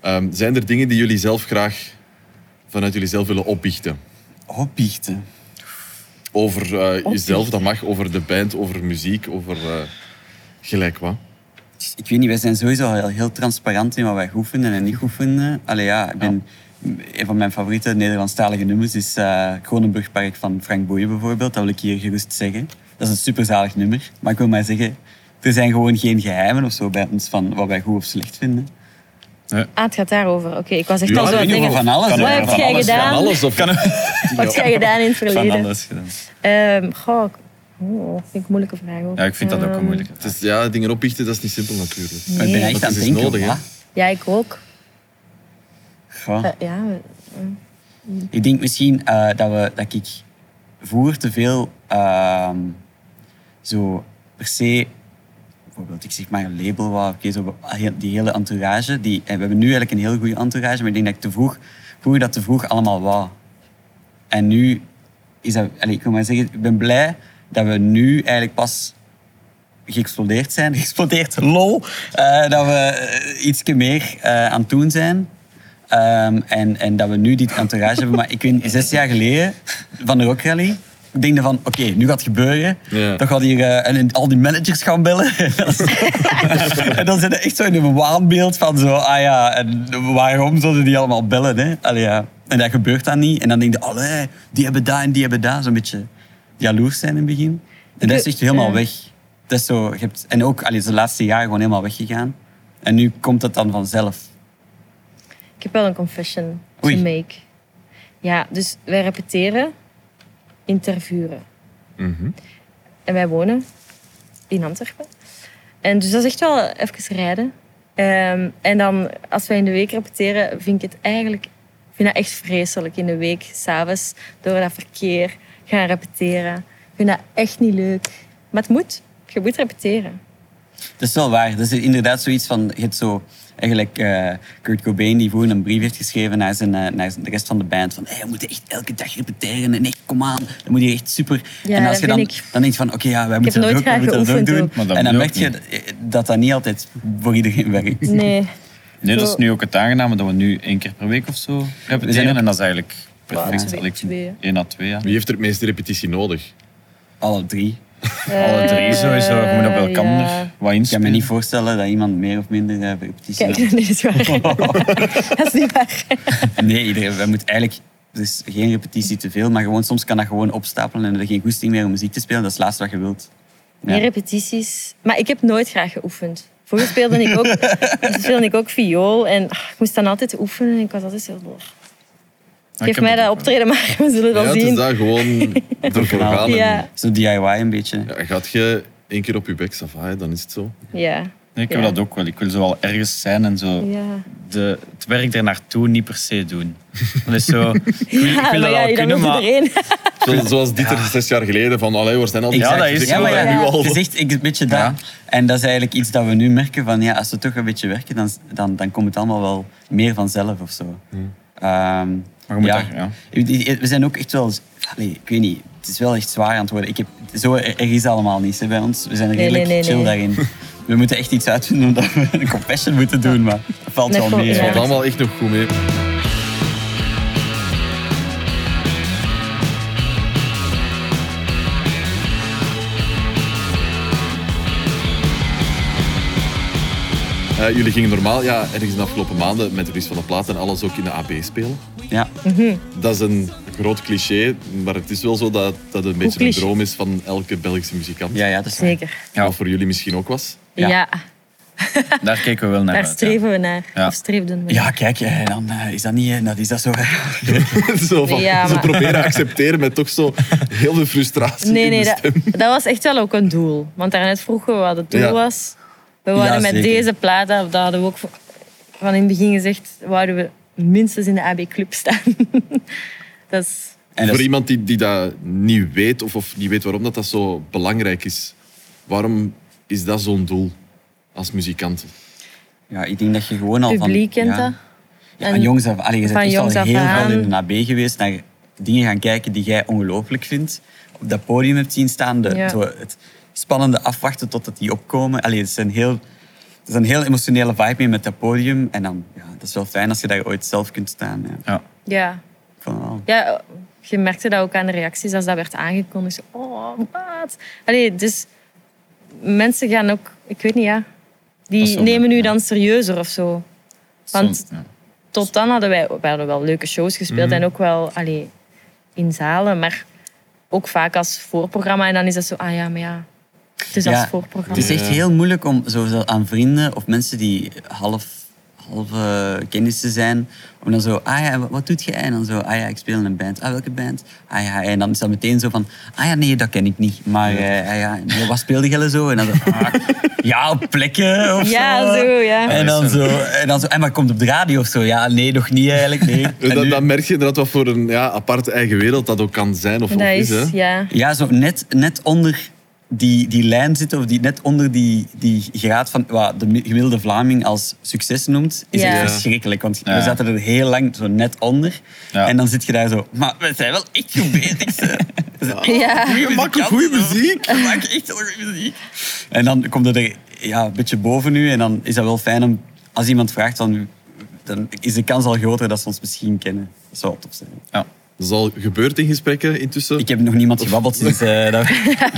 Ehm, zijn er dingen die jullie zelf graag vanuit jullie zelf willen opbiechten? Eh, Opbiechten. Over eh, jezelf, dat mag, over de band, over muziek, over eh, gelijk wat. Ik weet niet, wij zijn sowieso al heel, heel transparant in wat wij goed vinden en niet goed vinden. Allee ja, ik ben, een van mijn favoriete Nederlandstalige nummers is eh Kronenburgpark van Frank Boeien bijvoorbeeld. Dat wil ik hier gerust zeggen. Dat is een superzalig nummer. Maar ik wil maar zeggen, er zijn gewoon geen geheimen of zo bij ons van wat wij goed of slecht vinden. Ah, het gaat daarover. Oké, ik was echt Ja, al zo ik aan in het ieder denken. geval van alles. Wat hè. heb Van jij alles. gedaan? Alles of Wat heb jij gedaan in het Van verleden? alles gedaan. Ehm goh, ik- oh, dat vind ik een moeilijke vraag ook. Ja, ik vind dat ook Ehm, een moeilijke. Het is, ja, dingen opbiechten, dat is niet simpel natuurlijk. Maar ik ben Nee. echt Dat aan het is denken, nodig, hè. wat? Ja, ik ook. Goh. Eh, ja, we- Ik denk misschien eh, dat, we, dat ik vroeger te veel ehm, zo per se, bijvoorbeeld ik zeg maar een label, wat, oké, zo, heel- die hele entourage, die, en we hebben nu eigenlijk een heel goede entourage, maar ik denk dat ik te vroeg, vroeger dat te vroeg allemaal wou. En nu is dat, allee, ik wil maar zeggen, ik ben blij dat we nu eigenlijk pas geëxplodeerd zijn, geëxplodeerd, lol, eh, dat we iets meer eh, aan het doen zijn. Ehm, en, en dat we nu dit entourage hebben. Maar ik weet, zes jaar geleden, van de Rock Rally, ik denk van, oké, nu gaat het gebeuren. Ja. Dan gaat hier eh, en, en al die managers gaan bellen. en dan zit er echt zo in een waanbeeld van zo, ah ja, en waarom zouden die allemaal bellen? Hè? Allee, ja. En dat gebeurt dan niet. En dan denk je, allee, die hebben daar en die hebben daar. Zo'n beetje jaloers zijn in het begin. En dat is echt helemaal Ja. weg. Dat is zo, je hebt, en ook allee, de laatste jaren gewoon helemaal weggegaan. En nu komt dat dan vanzelf. Ik heb wel een confession Oei. to make. Ja, dus wij repeteren in Tervuren. En wij wonen in Antwerpen. En dus dat is echt wel even rijden. Ehm, en dan, als wij in de week repeteren, vind ik het eigenlijk... Ik vind dat echt vreselijk in de week, s'avonds, door dat verkeer gaan repeteren. Ik vind dat echt niet leuk. Maar het moet. Je moet repeteren. Dat is wel waar. Dat is inderdaad zoiets van, je hebt zo eigenlijk eh, Kurt Cobain die vroeger een brief heeft geschreven naar, zijn, eh, naar zijn- de rest van de band van, hey, we moeten echt elke dag repeteren en echt, kom aan, dan moet je echt super. Ja, en als dat je dan, vind ik. dan denkt van, oké, ja, wij moeten heb dat nooit ook, wij graag moeten dat ook geoefend doen. ook. Maar dat en dan moet merk ook je eh, dat dat niet altijd voor iedereen werkt. Nee. Nee, dat is nu ook het aangename dat we nu één keer per week of zo repeteren. ook- En dat is eigenlijk perfect. twee- Eigenlijk twee, hè. één à twee, ja. Wie heeft er het meeste repetitie nodig? Alle drie. Alle drie sowieso. Je moet op Eh, ja. elkaar wat Ik kan me inspelen. niet voorstellen dat iemand meer of minder eh repetitie Kijk, heeft. nee, dat is waar. dat is niet waar. Nee, iedereen, wij moeten eigenlijk... Dus geen repetitie te veel, maar gewoon, soms kan dat gewoon opstapelen en er geen goesting meer om muziek te spelen. Dat is het laatste wat je wilt. Ja. Meer repetities. Maar ik heb nooit graag geoefend. Vroeger speelde ik ook, speelde ik ook viool en ah, ik moest dan altijd oefenen en ik was altijd heel blog. Ah, Geef ik heb mij dat dat ook. optreden maar, we zullen Ja, dat het is zien. daar gewoon ervoor Ja. gaan. en- Ja. Zo DIY een beetje. Ja, gaat je één keer op je bek safai, dan is het zo. Ja. Ik heb Ja. dat ook wel. Ik wil zo wel ergens zijn en zo Ja. de, het werk er naartoe niet per se doen. Dat is zo. Ik wil, ik wil dat Ah, ja, wel kunnen, moet maar iedereen. Zo- Zoals Dieter zes jaar geleden, van allee, waar zijn al die Ja, zaakjes? dat is Ik wil zo, dat ja. nu al. Je zegt ik, een beetje dat. Ja. En dat is eigenlijk iets dat we nu merken van ja, als we toch een beetje werken, dan, dan, dan komt het allemaal wel meer vanzelf of zo. Hmm. Ehm, Maar je moet daar- ja. We zijn ook echt wel... eens- Allee, ik weet niet, het is wel echt zwaar aan het worden. Ik heb, zo er er is allemaal niets hè, bij ons. We zijn redelijk nee, nee, chill nee. daarin. We moeten echt iets uitvinden omdat we een confession moeten doen, maar dat valt Nee, wel gewoon- mee. ja. hè. Het valt allemaal echt nog goed mee. Eh, jullie gingen normaal, ja, ergens de afgelopen maanden met de rest van de plaat en alles ook in de AB spelen. Ja. Dat is een groot cliché, maar het is wel zo dat dat een beetje een cliché. droom is van elke Belgische muzikant. Ja, ja, dat is waar. Zeker. Wat voor jullie misschien ook was. Ja. Ja. daar kijken we wel naar Daar uit. ja. streven we naar. Ja. Of streefden we. Ja, kijk, eh, dan eh, is dat niet... eh, Dat is dat zo... zo van, Ja, ze maar- proberen accepteren met toch zo heel veel frustratie Nee, in nee, de dat, stem. dat was echt wel ook een doel. Want daarnet vroegen we wat het doel Ja. was. We Ja, waren met zeker. deze plaat, dat dat hadden we ook v- van in het begin gezegd, wouden we minstens in de AB-club staan. dat is... En dat Voor is- iemand die, die dat niet weet of, of niet weet waarom dat, dat zo belangrijk is. Waarom is dat zo'n doel als muzikant? ja, ik denk dat je gewoon al van... publiek kent ja. dat. Ja, van En- jongs af, allee, je bent van echt al jongs af heel aan. veel in de AB geweest, naar dingen gaan kijken die jij ongelooflijk vindt. Op dat podium hebt zien staan, de, Ja. zo het spannende afwachten totdat die opkomen. Allee, het, is een heel, het is een heel emotionele vibe mee met dat podium. En dan, ja, dat is wel fijn als je daar ooit zelf kunt staan. Ja. Ja. Ik vond het wel. ja, je merkte dat ook aan de reacties als dat werd aangekondigd. Zo, oh, wat? Allee, dus mensen gaan ook, ik weet niet, ja. Dat is Die zo, nemen ja. nu dan serieuzer of zo. Want Soms, ja. tot dan hadden wij, we hadden wel leuke shows gespeeld Mhm. en ook wel allee, in zalen, maar ook vaak als voorprogramma. En dan is dat zo, ah ja, maar ja, het is Ja, als voorprogramma. Het is echt Ja. heel moeilijk om sowieso aan vrienden of mensen die half, half eh, kennissen zijn, om dan zo, ah ja, wat, wat doet jij? En dan zo, ah ja, ik speel in een band. Ah, welke band? Ah ja, en dan is dat meteen zo van, ah ja, nee, dat ken ik niet. Maar eh, ah, ja, nee, wat speelde jij zo? En dan zo, ah, ja, op plekken of Ja, zo, ja. En dan zo, en dan zo, en maar komt op de radio of zo? Ja, nee, nog niet eigenlijk, nee. En Dan, nu- dan merk je inderdaad wat voor een ja, aparte eigen wereld dat ook kan zijn. Of, of Dat is, hè. is, ja. Ja, zo net, net onder die, die lijn zitten, of die, net onder die, die graad van wat de mi- gemiddelde Vlaming als succes noemt, is Ja. Ja. echt verschrikkelijk. Want Ja. we zaten er heel lang zo net onder. Ja. En dan zit je daar zo, maar we zijn wel echt goed bezig. ze. ja. We maken goeie muziek. We maken echt heel goede muziek. En dan komt het er ja, een beetje boven nu. En dan is dat wel fijn om, als iemand vraagt, dan, dan is de kans al groter dat ze ons misschien kennen. Dat zou wel tof zijn. Ja. Dat is al gebeurd in gesprekken intussen. Ik heb nog niemand gebabbeld sinds... eh dat...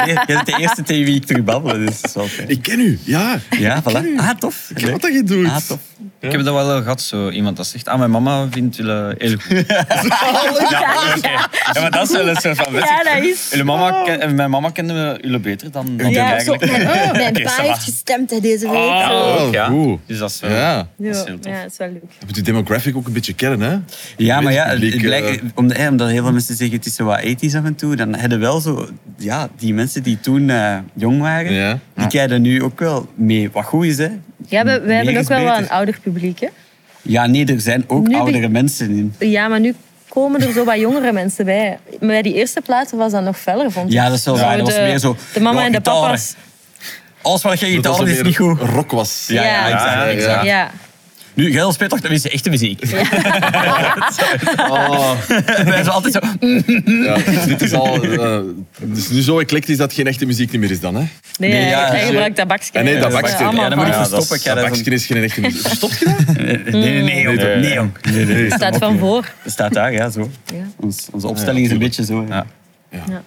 Jij bent de eerste tegen wie ik terug babbel, dus dat is wel fijn. Ik ken u, ja. Ja, voilà. Ah, tof. Ik weet Leuk. wat dat je doet. Ah, tof. Ik heb dat wel al gehad, zo iemand dat zegt, ah, mijn mama vindt jullie heel goed. ja, oké. ja, maar dat is wel een soort van wedstrijd. Ja, dat is. Jullie Oh. mama, ken- en mijn mama kende me jullie beter dan, dan Ja, jullie zo, eigenlijk. mijn, Oh, mijn Oké, pa ça va. heeft gestemd hè, deze week. zo. Ah, Oh, ja. goed. Dus dat is wel... Ja. Dat is Ja, heel tof. ja, dat is wel leuk. Je moet die demographic ook een beetje kennen, hè? Ja, maar ja, Het publiek, het blijkt, eh, omdat, hè, omdat heel veel mensen zeggen het is zo wat ethisch af en toe, dan hebben wel zo... Ja, die mensen die toen eh, jong waren, Ja. die krijgen nu ook wel mee. Wat goed is, hè. Ja, we, we Meer hebben is ook wel beter. wel een ouder publiek, hè. Ja, nee, er zijn ook Nu be- oudere mensen in. Ja, maar nu komen er zo wat jongere mensen bij. Maar bij die eerste plaat was dat nog feller, vond ik. Ja, dat is wel Zo waar. Dat was de- meer zo, De mama ja, en de gitaren. papa's. Alles wat je Dat dat gitaar zo is meer niet goed. rock was. Ja, ja, Ja. exact, Ja, ja. exact. Ja. Nu, jij speelt toch tenminste echte muziek? Oh. Wij zijn altijd zo... Ja, dus dit is al. eh, het is nu zo eclectisch dat het geen echte muziek niet meer is dan, hè? Nee, Nee, ja, hij ja. gebruikt tabaksken. Ah, nee, Dat is tabaksken. Ja, allemaal Ja, dan moet ik van- dat is- verstoppen. Ik ga Dat daar zo- bakje is geen echte muziek. Verstopt je dat? Nee, nee, nee, jong. Nee, Nee, jong. Nee, nee, nee. staat van voor. Dat staat daar, ja, zo. Ja. Ons, onze opstelling is een beetje zo. hè. Ja. Ja. Ja.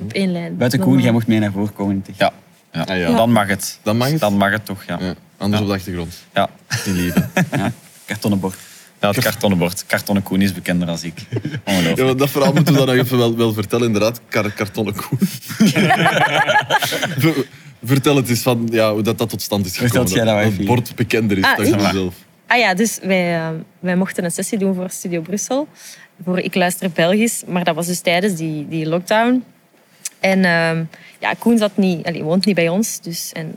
Op één lijn. Buiten Koen, jij mocht mee naar voren komen. Tegen. Ja. Ja. Ah, ja. Dan mag het. Dan mag het? Dan mag het toch, ja. Ja, Ja, anders op de achtergrond. ja. Die lieve. Kartonnen bord. het kartonnen bord. Kartonnen Koen is bekender dan ik. Ja, Ongelooflijk. want dat verhaal moeten we dan nog even wel, wel vertellen, inderdaad. Kar kartonnen koe. Ver- Vertel het eens van ja, hoe dat, dat tot stand is gekomen. Vertelt jij dat wel het even? bord bekender is Ah, dan ik? jezelf. Ah ja, dus wij, eh, wij mochten een sessie doen voor Studio Brussel. Voor Ik Luister Belgisch. Maar dat was dus tijdens die, die lockdown. En ehm, ja, Koen zat niet, allee, woont niet bij ons. Dus, en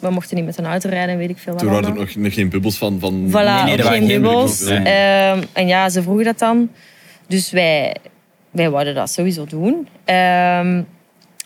we mochten niet met een auto rijden en weet ik veel wat Toen waren er allemaal. nog, nog geen bubbels van. van Voilà, nee, er geen, waren geen bubbels. bubbels, Ehm, en ja, ze vroegen dat dan. Dus wij, wij wouden dat sowieso doen. Ehm,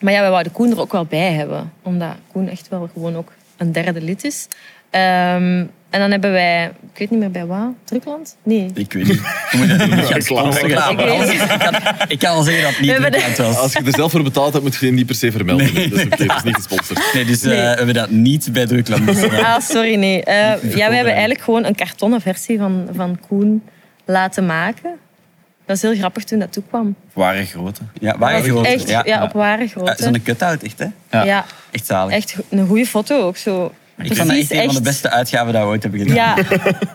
maar ja, wij wouden Koen er ook wel bij hebben. Omdat Koen echt wel gewoon ook een derde lid is. Ehm, en dan hebben wij, ik weet niet meer bij wat, Drukland? Nee. Ik weet niet. Je moet dat niet gaan sponsoren. Ik weet het niet. Ik kan al zeggen dat het We hebben niet de- bekend was. Als je er zelf voor betaald hebt, moet je die niet per se vermelden. Dat is oké, dat is niet gesponsord. Nee, dus eh, Nee. we hebben dat niet bij Drukland. besproken. Ah, sorry, nee. Eh, ja, we hebben eigenlijk gewoon een kartonnen versie van, van Koen laten maken. Dat is heel grappig toen dat toekwam. Ware grote. Ja, waren Echt, grote. echt ja, op ware grootte. Ja, Eh, Zo'n cut-out, echt hè? ja. ja, Echt zalig. Echt go- een goede foto ook zo. ik vond dat echt een van de beste uitgaven dat we ooit hebben gedaan. Ja, en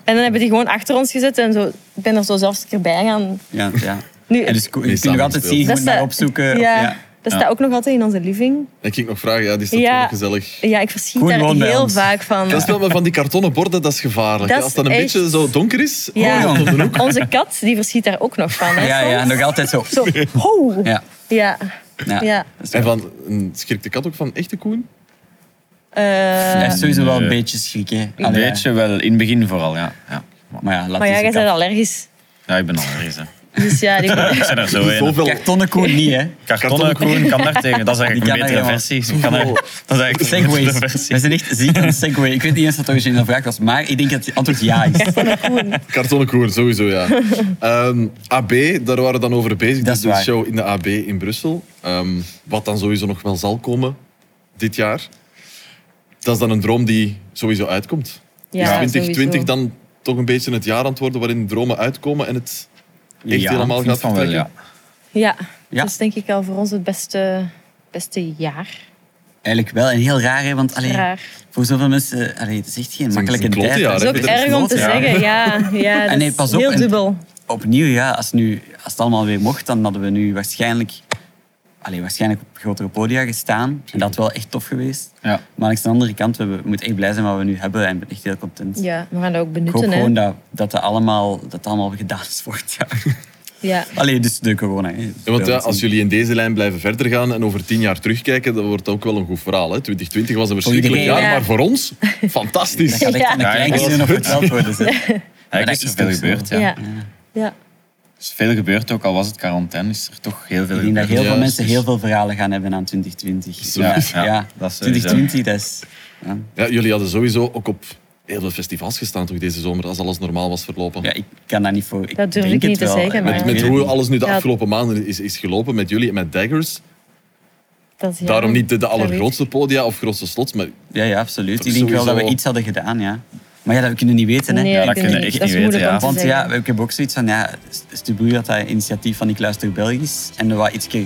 dan hebben we die gewoon achter ons gezet en zo, ik ben er zo zelfs een keer bij gaan. ja, ja. Nu- en dus, je kunt nog altijd samengespeeld. zien, je moet staat- maar opzoeken. of- Ja, ja. dat staat ook nog altijd in onze living. En ik ging nog vragen, ja, die staat Ja. wel gezellig. Ja, ik verschiet Koen daar woont bij heel ons. vaak van. Dat is wel maar van die kartonnen borden, dat is gevaarlijk. Dat hè. Als dat een is echt- beetje zo donker is, Ja. oh, op de hoek. Onze kat, die verschiet daar ook nog van. Hè, Ja, ja, soms. nog altijd zo. Zo, ho. Ja. Ja. Ja. Ja. Dat is En wel- van, een- schrikt de kat ook van echte koen? Eh, Hij heeft sowieso wel een Nee. beetje schrik, hè? Een Allee, beetje wel, in het begin vooral, ja. Ja, Maar ja, laat maar ja, eens jij een bent kat- allergisch. ja ik ben al ergens. hè. Dus ja, die... Ik ben er zo een. Zoveel Kartonnen koen niet, hè? Kartonnen Koen kan daar tegen. Dat is Die eigenlijk kan een betere daar versie. Ik Kan daar- dat is eigenlijk een Segways. betere We versie. zijn echt ziek aan segway. Ik weet niet eens wat de originele vraag was, maar ik denk dat het antwoord ja is. Kartonnen koer, sowieso, ja. Ehm, AB, daar waren we dan over bezig. Dat Dat is is een waar. show in de AB in Brussel. Ehm, wat dan sowieso nog wel zal komen dit jaar. Dat is dan een droom die sowieso uitkomt. is ja, 2020 sowieso. Dus dan toch een beetje het jaar aan het worden waarin dromen uitkomen en het echt Ja, helemaal vind gaat van wel, vertrekken? ja. Ja. Ja. dat is denk ik al voor ons het beste, beste jaar. Eigenlijk wel, en heel raar, hè? Want allee, Raar. voor zoveel mensen, allee, het is echt geen makkelijke klote tijd. jaar, hè. hè? Dat is ook Peter, erg om te klote jaar. zeggen, ja. ja dat En nee, is pas op, heel en- dubbel. Opnieuw, ja, als, nu, als het allemaal weer mocht, dan hadden we nu waarschijnlijk, allee, waarschijnlijk op grotere podia gestaan. En dat had wel echt tof geweest. Ja. Maar langs de andere kant, we hebben- we moeten echt blij zijn wat we nu hebben en ik ben echt heel content. Ja, we gaan dat Ik ook hoop benutten. Hè. gewoon dat, dat, het allemaal, dat het allemaal gedaan is volgend jaar. Ja. Allee, dus de corona. Hè. Ja, want ja, als jullie in deze lijn blijven verder gaan en over tien jaar terugkijken, dan wordt dat ook wel een goed verhaal. Hè? 2020 was een verschrikkelijk iedereen, jaar, ja. maar voor ons fantastisch. Dat gaat echt aan de Ja. kleinkinderen nog verteld worden. zeg. Eigenlijk is dat er veel is toch gebeurd, Ja. ja. Ja. Er is Dus veel gebeurd, ook al was het quarantaine, is er toch heel veel Ik denk dat gebeurd. heel veel Ja, mensen dus- heel veel verhalen gaan hebben aan 2020. Ja, ja, dat is sowieso. 2020, dat is... Ja, Ja, jullie hadden sowieso ook op heel veel festivals gestaan toch deze zomer, als alles normaal was verlopen. ja, ik kan daar niet voor... Dat durf denk ik het niet te wel, zeggen, maar maar- ik Met, met weet het hoe niet. alles nu de Ja. afgelopen maanden is, is gelopen met jullie en met Daggers. Dat is, ja. Daarom niet de, de Dat weet ik. allergrootste podia of grootste slots, maar Ja, ja, absoluut. Dat Ik is denk wel dat we sowieso- iets hadden gedaan, ja. Maar ja, dat we kunnen niet weten, hè. Nee, Ja, dat dat kunnen kunnen we echt niet. Dat is niet moeilijk weten, om Want te zeggen. ja, ik heb ook zoiets van, ja, Stubu had dat initiatief van Ik Luister Belgisch. En er wat, ietsje,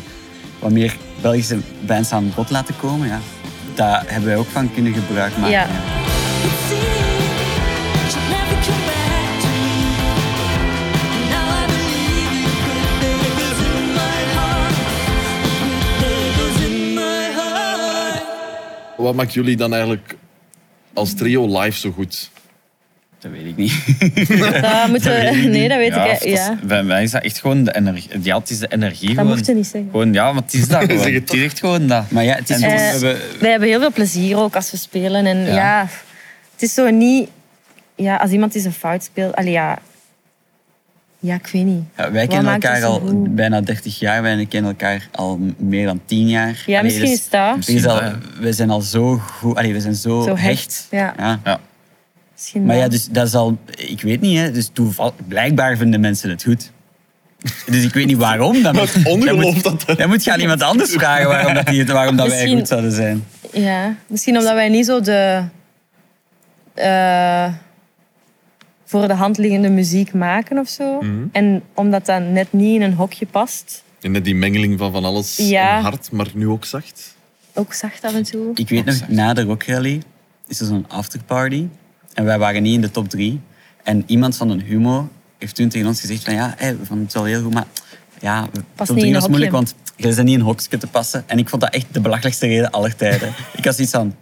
wat meer Belgische bands aan bod laten komen, ja. Daar hebben wij ook van kunnen gebruik maken. Ja. wat maakt jullie dan eigenlijk als trio live zo goed? Dat weet ik niet. Dat moeten we... Nee, dat weet Ja, ik. of dat is- Ja. Bij mij is dat echt gewoon de energie. Ja, het is de energie gewoon. mocht je niet zeggen. Gewoon, ja, maar het is dat gewoon. Zeg het het is echt gewoon dat. Maar ja, het is En gewoon- Eh, we hebben- Wij hebben heel veel plezier ook als we spelen. En ja, Ja. het is zo niet... Ja, als iemand eens een fout speelt... Allee, ja... Ja, ik weet niet. Ja, wij Wat kennen maakt elkaar ons zo al goed? bijna 30 jaar. Wij kennen elkaar al m- meer dan 10 jaar. Ja, misschien dus- is dat... het is al- Misschien, we zijn al zo goed. Allee, we zijn zo, Zo hecht, hecht. ja. Ja. Misschien Maar ja, wel. dus dat is al. Ik weet niet, hè. Dus toeval, blijkbaar vinden mensen het goed. Dus ik weet niet waarom. Dat moet, ongeloof moet- dat er- Dan moet je aan iemand anders vragen waarom, dat die, het- waarom dat wij Misschien- goed zouden zijn. Ja, misschien omdat wij niet zo de eh, Mhm. voor de hand liggende muziek maken of zo. En omdat dat net niet in een hokje past, En met die mengeling van van alles Ja. en hard, maar nu ook zacht. Ook zacht af en toe. Ik weet nog, na de Rock Rally is er zo'n afterparty. En wij waren niet in de top drie. En iemand van een humo heeft toen tegen ons gezegd van ja, hey, we vonden het wel heel goed, maar ja, Past top niet drie in was een moeilijk, want hokje. jij bent niet in een hokje te passen. En ik vond dat echt de belachelijkste reden aller tijden. ik was iets van,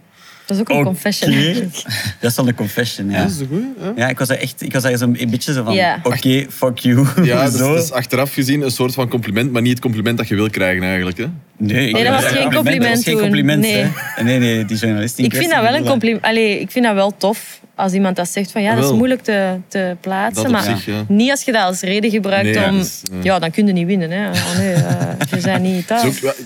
Dat is ook een Oké. confession. eigenlijk. dat is wel een confession, ja. de goeie. Ja, ik was daar echt, ik was daar zo'n een beetje zo van, Ja. oké, fuck you. Ja, dat is, zo. dat is achteraf gezien een soort van compliment, maar niet het compliment dat je wil krijgen eigenlijk. Hè? Nee, ik- Nee, dat was geen Dat was compliment geen toen. compliment, Nee. hè. Nee, nee, die journalist in Ik vind kwestie, dat wel een die wil compliment. Allee, ik vind dat wel tof als iemand dat zegt van ja, dat is Wel. moeilijk te, te plaatsen. Dat op maar zich, ja. niet als je dat als reden gebruikt Nee, om. dat is, eh. Ja, dan kun je niet winnen. Hè. Oh, nee, eh, je bent niet Is thuis. Dus ook- ja,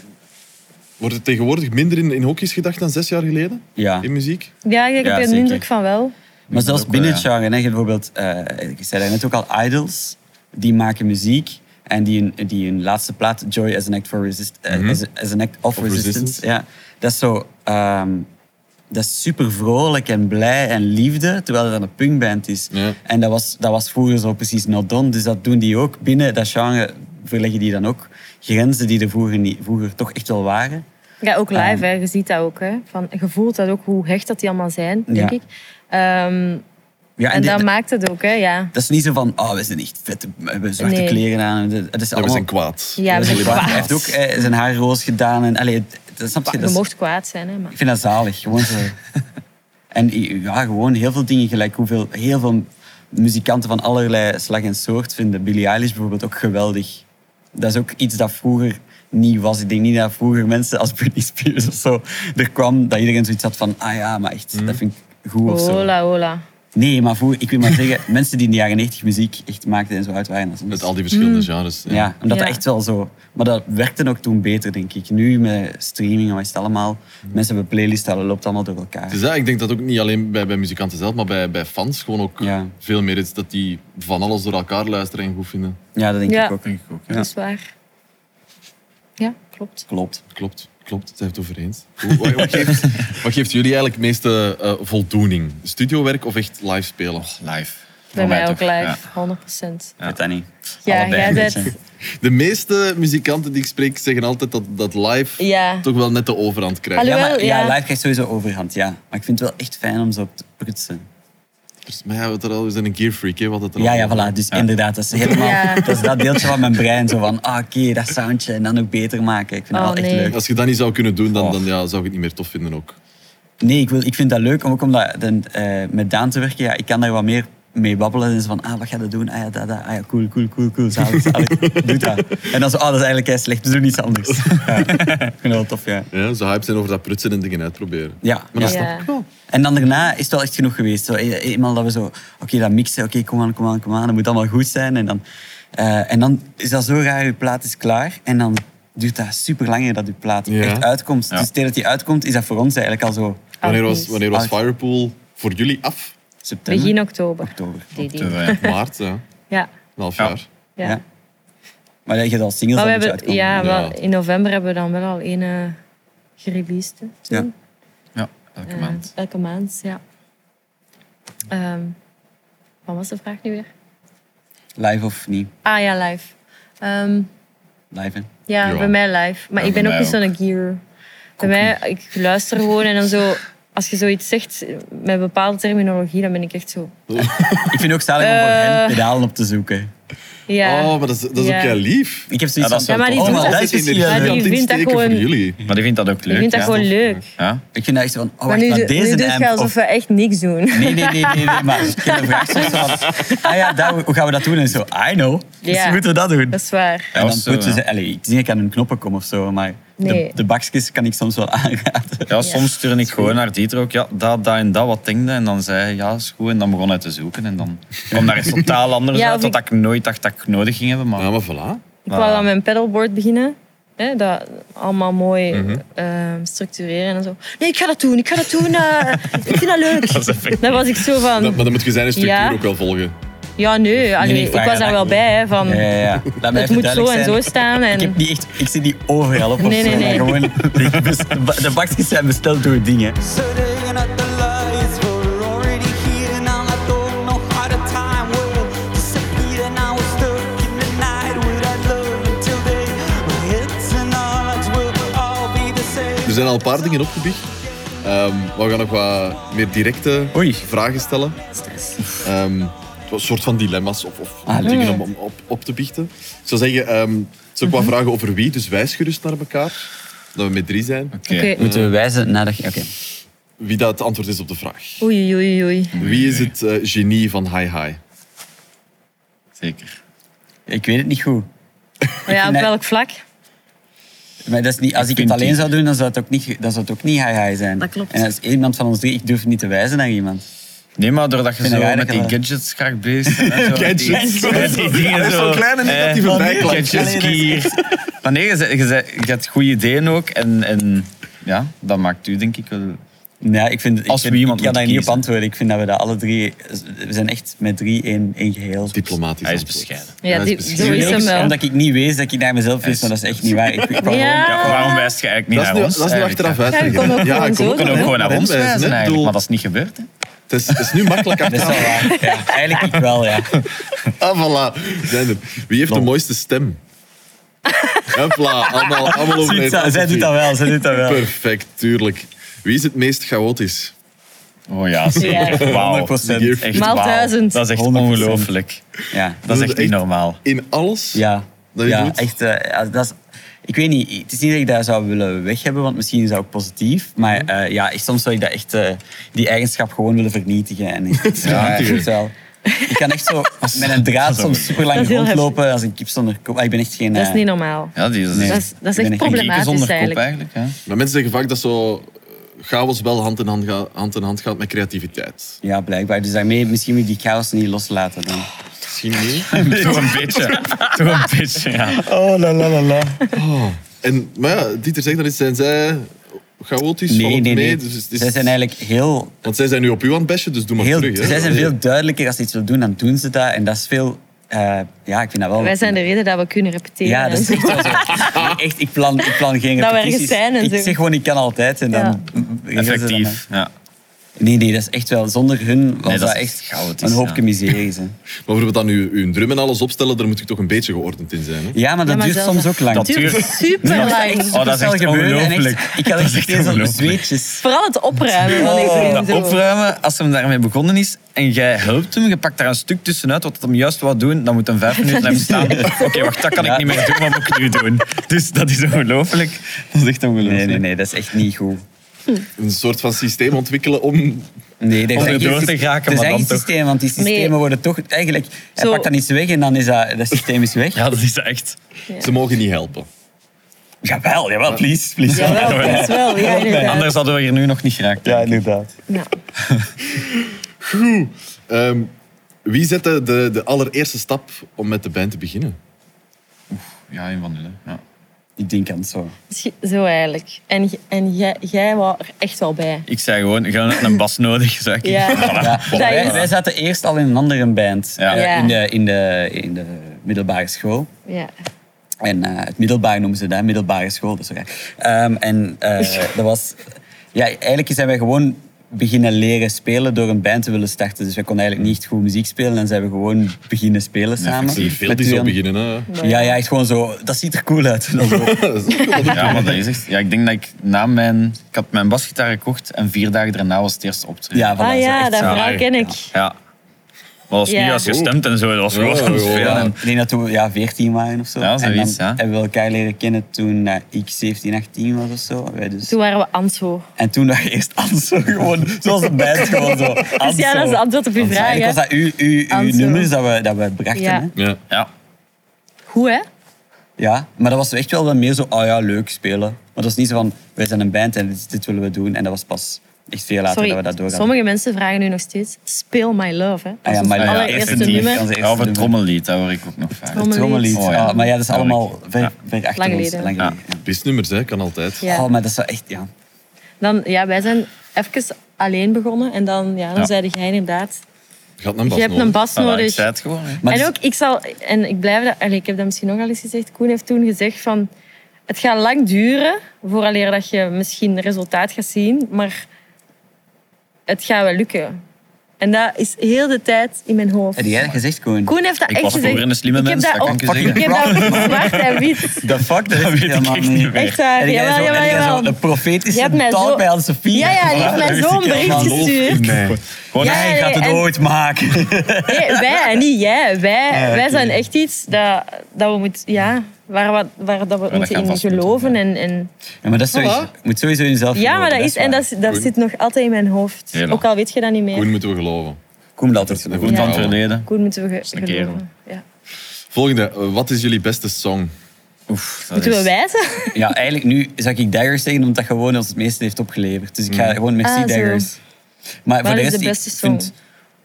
wordt er tegenwoordig minder in, in hokjes gedacht dan zes jaar geleden? Ja. In muziek? Ja, ik heb Ja, er de zeker. indruk van wel. Maar zelfs ook wel, binnen ja. het genre, hè, je hebt bijvoorbeeld, eh, ik zei daarnet ook al, Idols, die maken muziek en die hun, die hun laatste plaat, Joy as an Act, for resist, eh, as, a- as an act of, Resistance, Resistance. Ja, dat is zo, ehm, dat is super vrolijk en blij en liefde, terwijl het dan een punkband is. Ja. En dat was, dat was vroeger zo precies not done, dus dat doen die ook. Binnen dat genre verleggen die dan ook grenzen die er vroeger, niet, vroeger toch echt wel waren. Ja, ook live, Ehm. hè. je ziet dat ook. Hè. Van, je voelt dat ook, hoe hecht dat die allemaal zijn, denk Ja. ik. Ehm, Ja, en die- dat maakt het ook, hè. Ja, dat is niet zo van, oh, we zijn echt vette, we hebben zwarte Nee. kleren aan. Het is Ja, we allemaal zijn kwaad. ja we Dat is zijn heel waar. Hij kwaad. heeft ook eh, zijn haar roos gedaan. En, allee, het- het- snap je, Je dat is- mocht kwaad zijn, hè. Maar. ik vind dat zalig. Gewoon zo. en i- ja, gewoon heel veel dingen gelijk. Hoeveel, heel veel muzikanten van allerlei slag en soort vinden Billie Eilish bijvoorbeeld ook geweldig. Dat is ook iets dat vroeger niet was. Ik denk niet dat vroeger mensen als Britney Spears of zo er kwam dat iedereen zoiets had van ah ja, maar echt, dat vind ik goed of zo. Hola, hola. Nee, maar vroeger, ik wil maar zeggen, mensen die in de jaren 90 muziek echt maakten en zo uit waren. als ons. Met al die verschillende genres. ja. Ja, omdat Ja. dat echt wel zo... Maar dat werkte ook toen beter, denk ik. Nu met streaming en wat is het allemaal... Mensen hebben playlisten, dat loopt allemaal door elkaar. Mm. Dus ja, ik denk dat ook niet alleen bij, bij muzikanten zelf, maar bij, bij fans gewoon ook Ja. veel meer is dat die van alles door elkaar luisteren en goed vinden. Ja, dat denk Ja. ik ook. Denk ik ook. ja. Dat is waar. Ja, klopt. Klopt. Klopt, klopt. Zijn we het over eens? Hoe- Wat, wat geeft, wat geeft jullie eigenlijk het meeste eh, voldoening? Studiowerk of echt live spelen? Live. Bij Voor mij ook toch, live, ja. 100%. Weet dat niet. Ja, Allebei jij een bent. De meeste muzikanten die ik spreek zeggen altijd dat, dat live Ja. toch wel net de overhand krijgt. Hallo. Ja, maar, Jawel, ja. ja. live krijgt sowieso overhand, ja. Maar ik vind het wel echt fijn om zo op te prutsen. Dus, maar ja, we, hadden al- we zijn een gearfreak, hè? Wat het er Ja, ja, allemaal- voilà. Dus inderdaad, dat is helemaal... Ja. Dat is dat deeltje van mijn brein. Zo van, ah, oké, dat soundje. En dan ook beter maken. Ik vind Oh, dat wel echt nee. leuk. Als je dat niet zou kunnen doen, dan, Oh. dan ja, zou ik het niet meer tof vinden ook. Nee, ik, wil, ik vind dat leuk, ook omdat dan, eh, met Daan te werken, ja, ik kan daar wat meer mee babbelen. En zo van, ah, wat ga je doen? Ah ja, dat, dat. Ah ja, cool, cool, cool, cool. Zalig, zalig. Doe dat. En dan zo, ah, dat is eigenlijk heel slecht. Dus doe iets anders. Ja. Ik vind dat wel tof, ja. Ja, ze hype zijn over dat prutsen en dingen uitproberen. Ja, Maar dat ja. Ja. snap ik wel. En dan daarna is het wel echt genoeg geweest. Zo, e- eenmaal dat we zo, oké, dat mixen, oké, kom aan, kom aan, kom aan. Dat moet allemaal goed zijn. En dan, eh, en dan is dat zo raar, je plaat is klaar. En dan duurt dat super lang eer dat je plaat Ja. echt uitkomt. Ja. Dus tegen dat die uitkomt, is dat voor ons eigenlijk al zo Wanneer was, wanneer was Oud. Firepool voor jullie af? september, Begin oktober. oktober. Die, die. Dus, eh, Maart, ja. Een Ja, half Ja. jaar. ja. Ja. Maar dat je dat als singles Maar we al moet hebben, uitkomen. ja, wel, Ja. in november hebben we dan wel al één eh, gereleased. hè, toen. Ja, elke Eh, maand. elke maand, ja. Ehm, wat was de vraag nu weer? Live of niet? Ah ja, live. Ehm, Live, hè? ja, Ja. bij mij live. Maar Ja, ik bij ben ook mij niet zo'n gear. Bij mij, ik luister gewoon en dan zo... Als je zoiets zegt met bepaalde terminologie, dan ben ik echt zo... Ik vind het ook zalig om voor hen Eh. pedalen op te zoeken. Ja. Oh, maar dat is, dat is Ja. ook heel lief. Ik heb zoiets Ja, van... dat is wel Ja, maar die oh, doet maar dat- dat is misschien die wel energie leuk. aan het vindt dat insteken gewoon- voor jullie. Maar die vindt dat ook leuk. ik vind dat ja. gewoon leuk. Ja? Ik vind dat echt zo van... Oh, Maar wacht, nu, maar doe- deze nu doet amp je alsof of- we echt niks doen. Nee, nee, nee, nee, nee, maar ik heb een vraag soms van... Ah ja, dat, hoe gaan we dat doen? En zo, I know. Dus Ja. moeten we dat doen. Dat is waar. en of dan zo, moeten ja. ze... Allee, ik zie dat ik aan hun knoppen kom of zo, maar... Nee. De, de bakjes kan ik soms wel aanraden. Ja, soms stuurde ik gewoon naar Dieter ook, ja, dat, dat en dat, wat denk je? En dan zei hij, ja, is goed. En dan begon hij te zoeken. En dan kwam daar iets totaal anders Ja, uit, of wat ik nooit dacht dat ik nodig ging hebben. Maar Ja, maar voilà. Ik wou aan mijn paddleboard beginnen. Hè, dat allemaal mooi eh, structureren en zo. Nee, ik ga dat doen, ik ga dat doen. eh, ik vind dat leuk. Dan was ik zo Dat- van... maar dan moet je zijn structuur Ja. ook wel volgen. Ja, nee, allee, nee, ik vraag was daar aan wel Anko. bij. Hè, van, Ja, ja, ja. Laat mij het even moet zo duidelijk en zijn. zo staan. Ik, heb En, die echt, ik zie die overal op of Nee, nee, zo, maar nee. Gewoon, de, bes- de bakjes zijn besteld door dingen. Setting up the lights, we're already here and all I don't know how the time will disappear and I was stuck in the night without love until day. zijn al een paar dingen opgebiecht. Ehm, maar we gaan nog wat meer directe Oei. vragen stellen. Stress. Ehm, een soort van dilemma's of, of Ah, dingen om, om op, op te biechten. Ik zou zeggen, ehm, het is ook Mhm. wat vragen over wie, dus wijs gerust naar elkaar. Dat we met drie zijn. Oké. Oké. Moeten we wijzen naar de... Oké. Wie dat het antwoord is op de vraag. Oei, oei, oei. Wie is het eh, genie van Hi Hi? Zeker. Ik weet het niet goed. Maar ja, op Nee. welk vlak? Maar dat is niet, als ik het vind alleen die- zou doen, dan zou het ook niet, dan zou het ook niet high-high zijn. Dat klopt. En als iemand van ons drie, ik durf niet te wijzen naar iemand. Nee, maar doordat je vind zo het raar met dat die je dat- gadgets graag bezig bent. en zo, met die- Gadgets. met die dingen Zo'n kleine negatieve eh, bijklank. Gadgets, kier. Maar nee, je, zei- je, zei- je hebt goede ideeën ook. En, en ja, dat maakt u denk ik wel... Nee, ik vind, ik Als we vind, iemand ik kan daar moeten niet op kiezen. antwoorden. Ik vind dat we dat alle drie... We zijn echt met drie één, één geheel. Diplomatisch Hij is antwoord. bescheiden. Ja, dat is die- precies. zo is hem wel. Omdat ik niet weet dat ik naar mezelf wist, maar dat is echt niet waar. Ik, ik wou Ja. gewoon- Ja, waarom wijst je eigenlijk niet Dat is naar nu, ons? dat is nu eigenlijk? achteraf Ja, je uitleggen. kon ook gewoon ik kon zo ook We kunnen ook gewoon naar ons hè. wijzen Ik eigenlijk, bedoel, maar dat is niet gebeurd. Hè? Het is, het is nu makkelijk Dat is wel achteraf. waar. Ja, eigenlijk ik wel, ja. Ah, voilà. We zijn er. Wie heeft de mooiste stem? Hopla, allemaal, allemaal over Ziet, één zij, zij afgevuurd. doet dat wel, zij doet dat wel. Perfect, tuurlijk. Wie is het meest chaotisch? Oh ja, zeker. Wauw. 100%. Echt Echt Maal wauw. duizend. Dat is echt 100%. ongelooflijk. Ja. Dat is echt niet Echt- normaal. In alles? Ja, Dat je ja doet? echt. eh, ja, dat is, ik weet niet, het is niet dat ik dat zou willen weg hebben, want misschien is dat ook positief. Mhm. Maar eh, ja, echt, soms zou ik dat echt, eh, die eigenschap gewoon willen vernietigen. En ik, ja, ik vind het wel. Ik kan echt zo met een draad soms super Dat lang is heel rondlopen als een kip zonder kop. Ah, Ik ben echt geen. Dat is eh, niet normaal. Ja, die is, Nee. Dat is, dat is echt Ik ben een problematisch zonder kop eigenlijk. eigenlijk. Ja. Maar mensen zeggen vaak dat zo eh, chaos wel hand in hand, ga- hand in hand gaat met creativiteit. ja, blijkbaar. Dus daarmee misschien moet ik die chaos niet loslaten. Dan. Misschien niet. Toch een beetje. Toch een beetje, ja. En, maar ja, Dieter zegt dat is, zijn zij chaotisch? Nee, valt nee, mee? nee. Dus het is- Zij zijn eigenlijk heel Want zij zijn nu op u aan het bashen, dus doe maar heel, terug. hè. zij zijn veel duidelijker als ze iets wil doen, dan doen ze dat. En dat is veel. eh, ja, ik vind dat wel. Wij zijn de reden dat we kunnen repeteren. Ja, dat is en echt zo. wel zo. Maar Echt, ik plan, ik plan geen Dat we Nou, ergens repetities. zijn en ik zo. zeg gewoon, ik kan altijd. En dan Ja. regelen ze dat dan. Effectief. Ja. Nee, nee, dat is echt wel. Zonder hun was Nee, dat dat, is echt chaotisch, een ja. hoopje miserie. Hè. Maar bijvoorbeeld dan uw, uw drum en alles opstellen, daar moet ik toch een beetje geordend in zijn. Hè? Ja, maar dat Ja, maar duurt zelfs soms dat- ook lang. Dat duurt duurt- super lang. Oh, dat is Supersnel echt gebeuren en echt- ongelooflijk. Ik had Dat echt is echt steeds op ongelooflijk. zweetjes. Vooral het opruimen Oh, van Dat iedereen. zo. opruimen, als hem daarmee begonnen is en jij helpt hem, je pakt daar een stuk tussenuit wat het hem juist wou doen, dan moet hem vijf minuten blijven staan. Oké, wacht, dat kan ik niet meer doen, wat moet ik nu doen? Dus dat is ongelooflijk. Dat is echt ongelooflijk. Nee, nee, nee, dat is echt niet goed. Een soort van systeem ontwikkelen om... Nee, er Om zijn er geen door te systeem- Er geraken, maar zijn dan geen toch- systemen, want die systemen Nee. worden toch eigenlijk... Hij Zo- pakt dan iets weg en dan is dat, dat systeem is weg. Ja, dat is echt. Ze mogen niet helpen. Jawel, jawel, please, please. Jawel, dat is wel. Ja, inderdaad. Anders hadden we hier nu nog niet geraakt. Ja, inderdaad. Ja. Ehm, wie zette de, de allereerste stap om met de band te beginnen? ja een van jullie. Ja. Ik denk aan het zo. Misschien- Dus Zo eigenlijk. En, j- en jij, jij was er echt wel bij. Ik zei gewoon, we hebben een bas nodig. Zei ik. Ja. Voilà. Ja, Dat wij, is- wij zaten eerst al in een andere band Ja. eh, Ja. in, de, in, de, in de middelbare school. Ja. En eh, het middelbaar noemen ze dat, middelbare school, dat is zo raar. Ehm, En eh, dat was... Ja, eigenlijk zijn wij gewoon beginnen leren spelen door een band te willen starten. Dus wij konden eigenlijk niet echt goed muziek spelen en zijn we gewoon beginnen spelen samen. Zie je veel Met die zo Julian. beginnen. Hè? Maar Ja, ja, echt gewoon zo, dat ziet er cool uit. En dan zo, Ja, maar dat is echt. Ja, ik denk dat ik na mijn. Ik had mijn basgitaar gekocht en vier dagen daarna was het eerste optreden. Ja, voilà, Ah zo ja, echt dat zo. verhaal ken ik. Ja. Maar dat was Ja. niet als gestemd en zo. Dat was Ja, gewoon aan het ja. spelen. En- Ik denk dat toen we ja, 14 waren of zo. Ja, en dan zoiets, ja. hebben we elkaar leren kennen toen eh, ik 17, 18 was of zo. Wij dus Toen waren we Answo. En toen dacht ik eerst Anso, gewoon, zoals een band, gewoon zo. Dus ja, dat is het antwoord op uw vraag. Eigenlijk was hè. dat uw, uw, uw Anso. nummers dat we, dat we brachten. Ja. Hè? Ja. Ja. Goed, hè? ja. Maar dat was echt wel wat meer zo, oh ja, leuk spelen. Maar dat was niet zo van, wij zijn een band en dit, dit willen we doen. En dat was pas echt veel later dat we dat Sorry, door hadden. sommige mensen vragen nu nog steeds Speel My Love, hè? Ah ja, Dat is My ons Love. allereerste Eerste nummer. lied. Ja, onze of eerste het trommellied, dat hoor ik ook nog vaak. Trommel- Trommellied. Oh ja. Ah, maar ja, dat is Trommellied. allemaal ver, Ja. ver achter Lang ons. geleden. Lang geleden. ja. Bisnummers, hè, kan altijd. Ja. Oh, maar dat is wel echt, ja. Dan, ja, wij zijn even alleen begonnen en dan, ja, dan Ja. zeide jij inderdaad... Gaat naar Bas Je hebt nodig. een bas Voilà, ik nodig. zei het gewoon. hè. Maar en dus- ook, ik zal... En ik blijf dat... allee, ik heb dat misschien nog al eens gezegd. Koen heeft toen gezegd van... Het gaat lang duren, vooraleer dat je misschien resultaat gaat zien, maar het gaat wel lukken. En dat is heel de tijd in mijn hoofd. Heb jij dat gezegd, Koen? Koen heeft dat Ik echt was gezegd. vroeger een slimme ik heb mens, dat dat kan ook- ik je Ik heb zeggen. dat ook zwart en wit. The fuck, dat, weet ik helemaal echt niet meer. Echt waar, Heb jij jawel, zo- heb jawel, jij jawel. zo een Je profetische hebt mij taal zo- bij Anne-Sophie? Ja, ja, die heeft mij Voilà. zo'n Ik bericht geloof gestuurd. niet. Gewoon, Ja, hij gaat het en- ooit maken. Nee, wij, niet jij. Wij, oké. wij zijn echt iets dat, dat we moeten... Ja, waar, we- waar dat we dat moeten gaan in vast moeten, geloven. ja. En, en, Ja, maar dat is sowieso, Voilà. je moet sowieso in jezelf ja, maar geloven, dat is... En waar. dat, is- dat zit nog altijd in mijn hoofd. Heel lang. Ook al weet je dat niet meer. Koen Koen, moeten we geloven. Koen moet altijd Dat geloven. moet van het wel. verleden. moeten we ge een kerel. geloven. Ja. Volgende, eh, wat is jullie beste song? Oef, dat Moeten we is- wijzen? Ja, eigenlijk nu zou ik Daggers zeggen, omdat dat gewoon ons het meeste heeft opgeleverd. Dus ik ga gewoon Merci Ah, zo. Daggers. Maar voor Wat de is rest, de beste ik vind...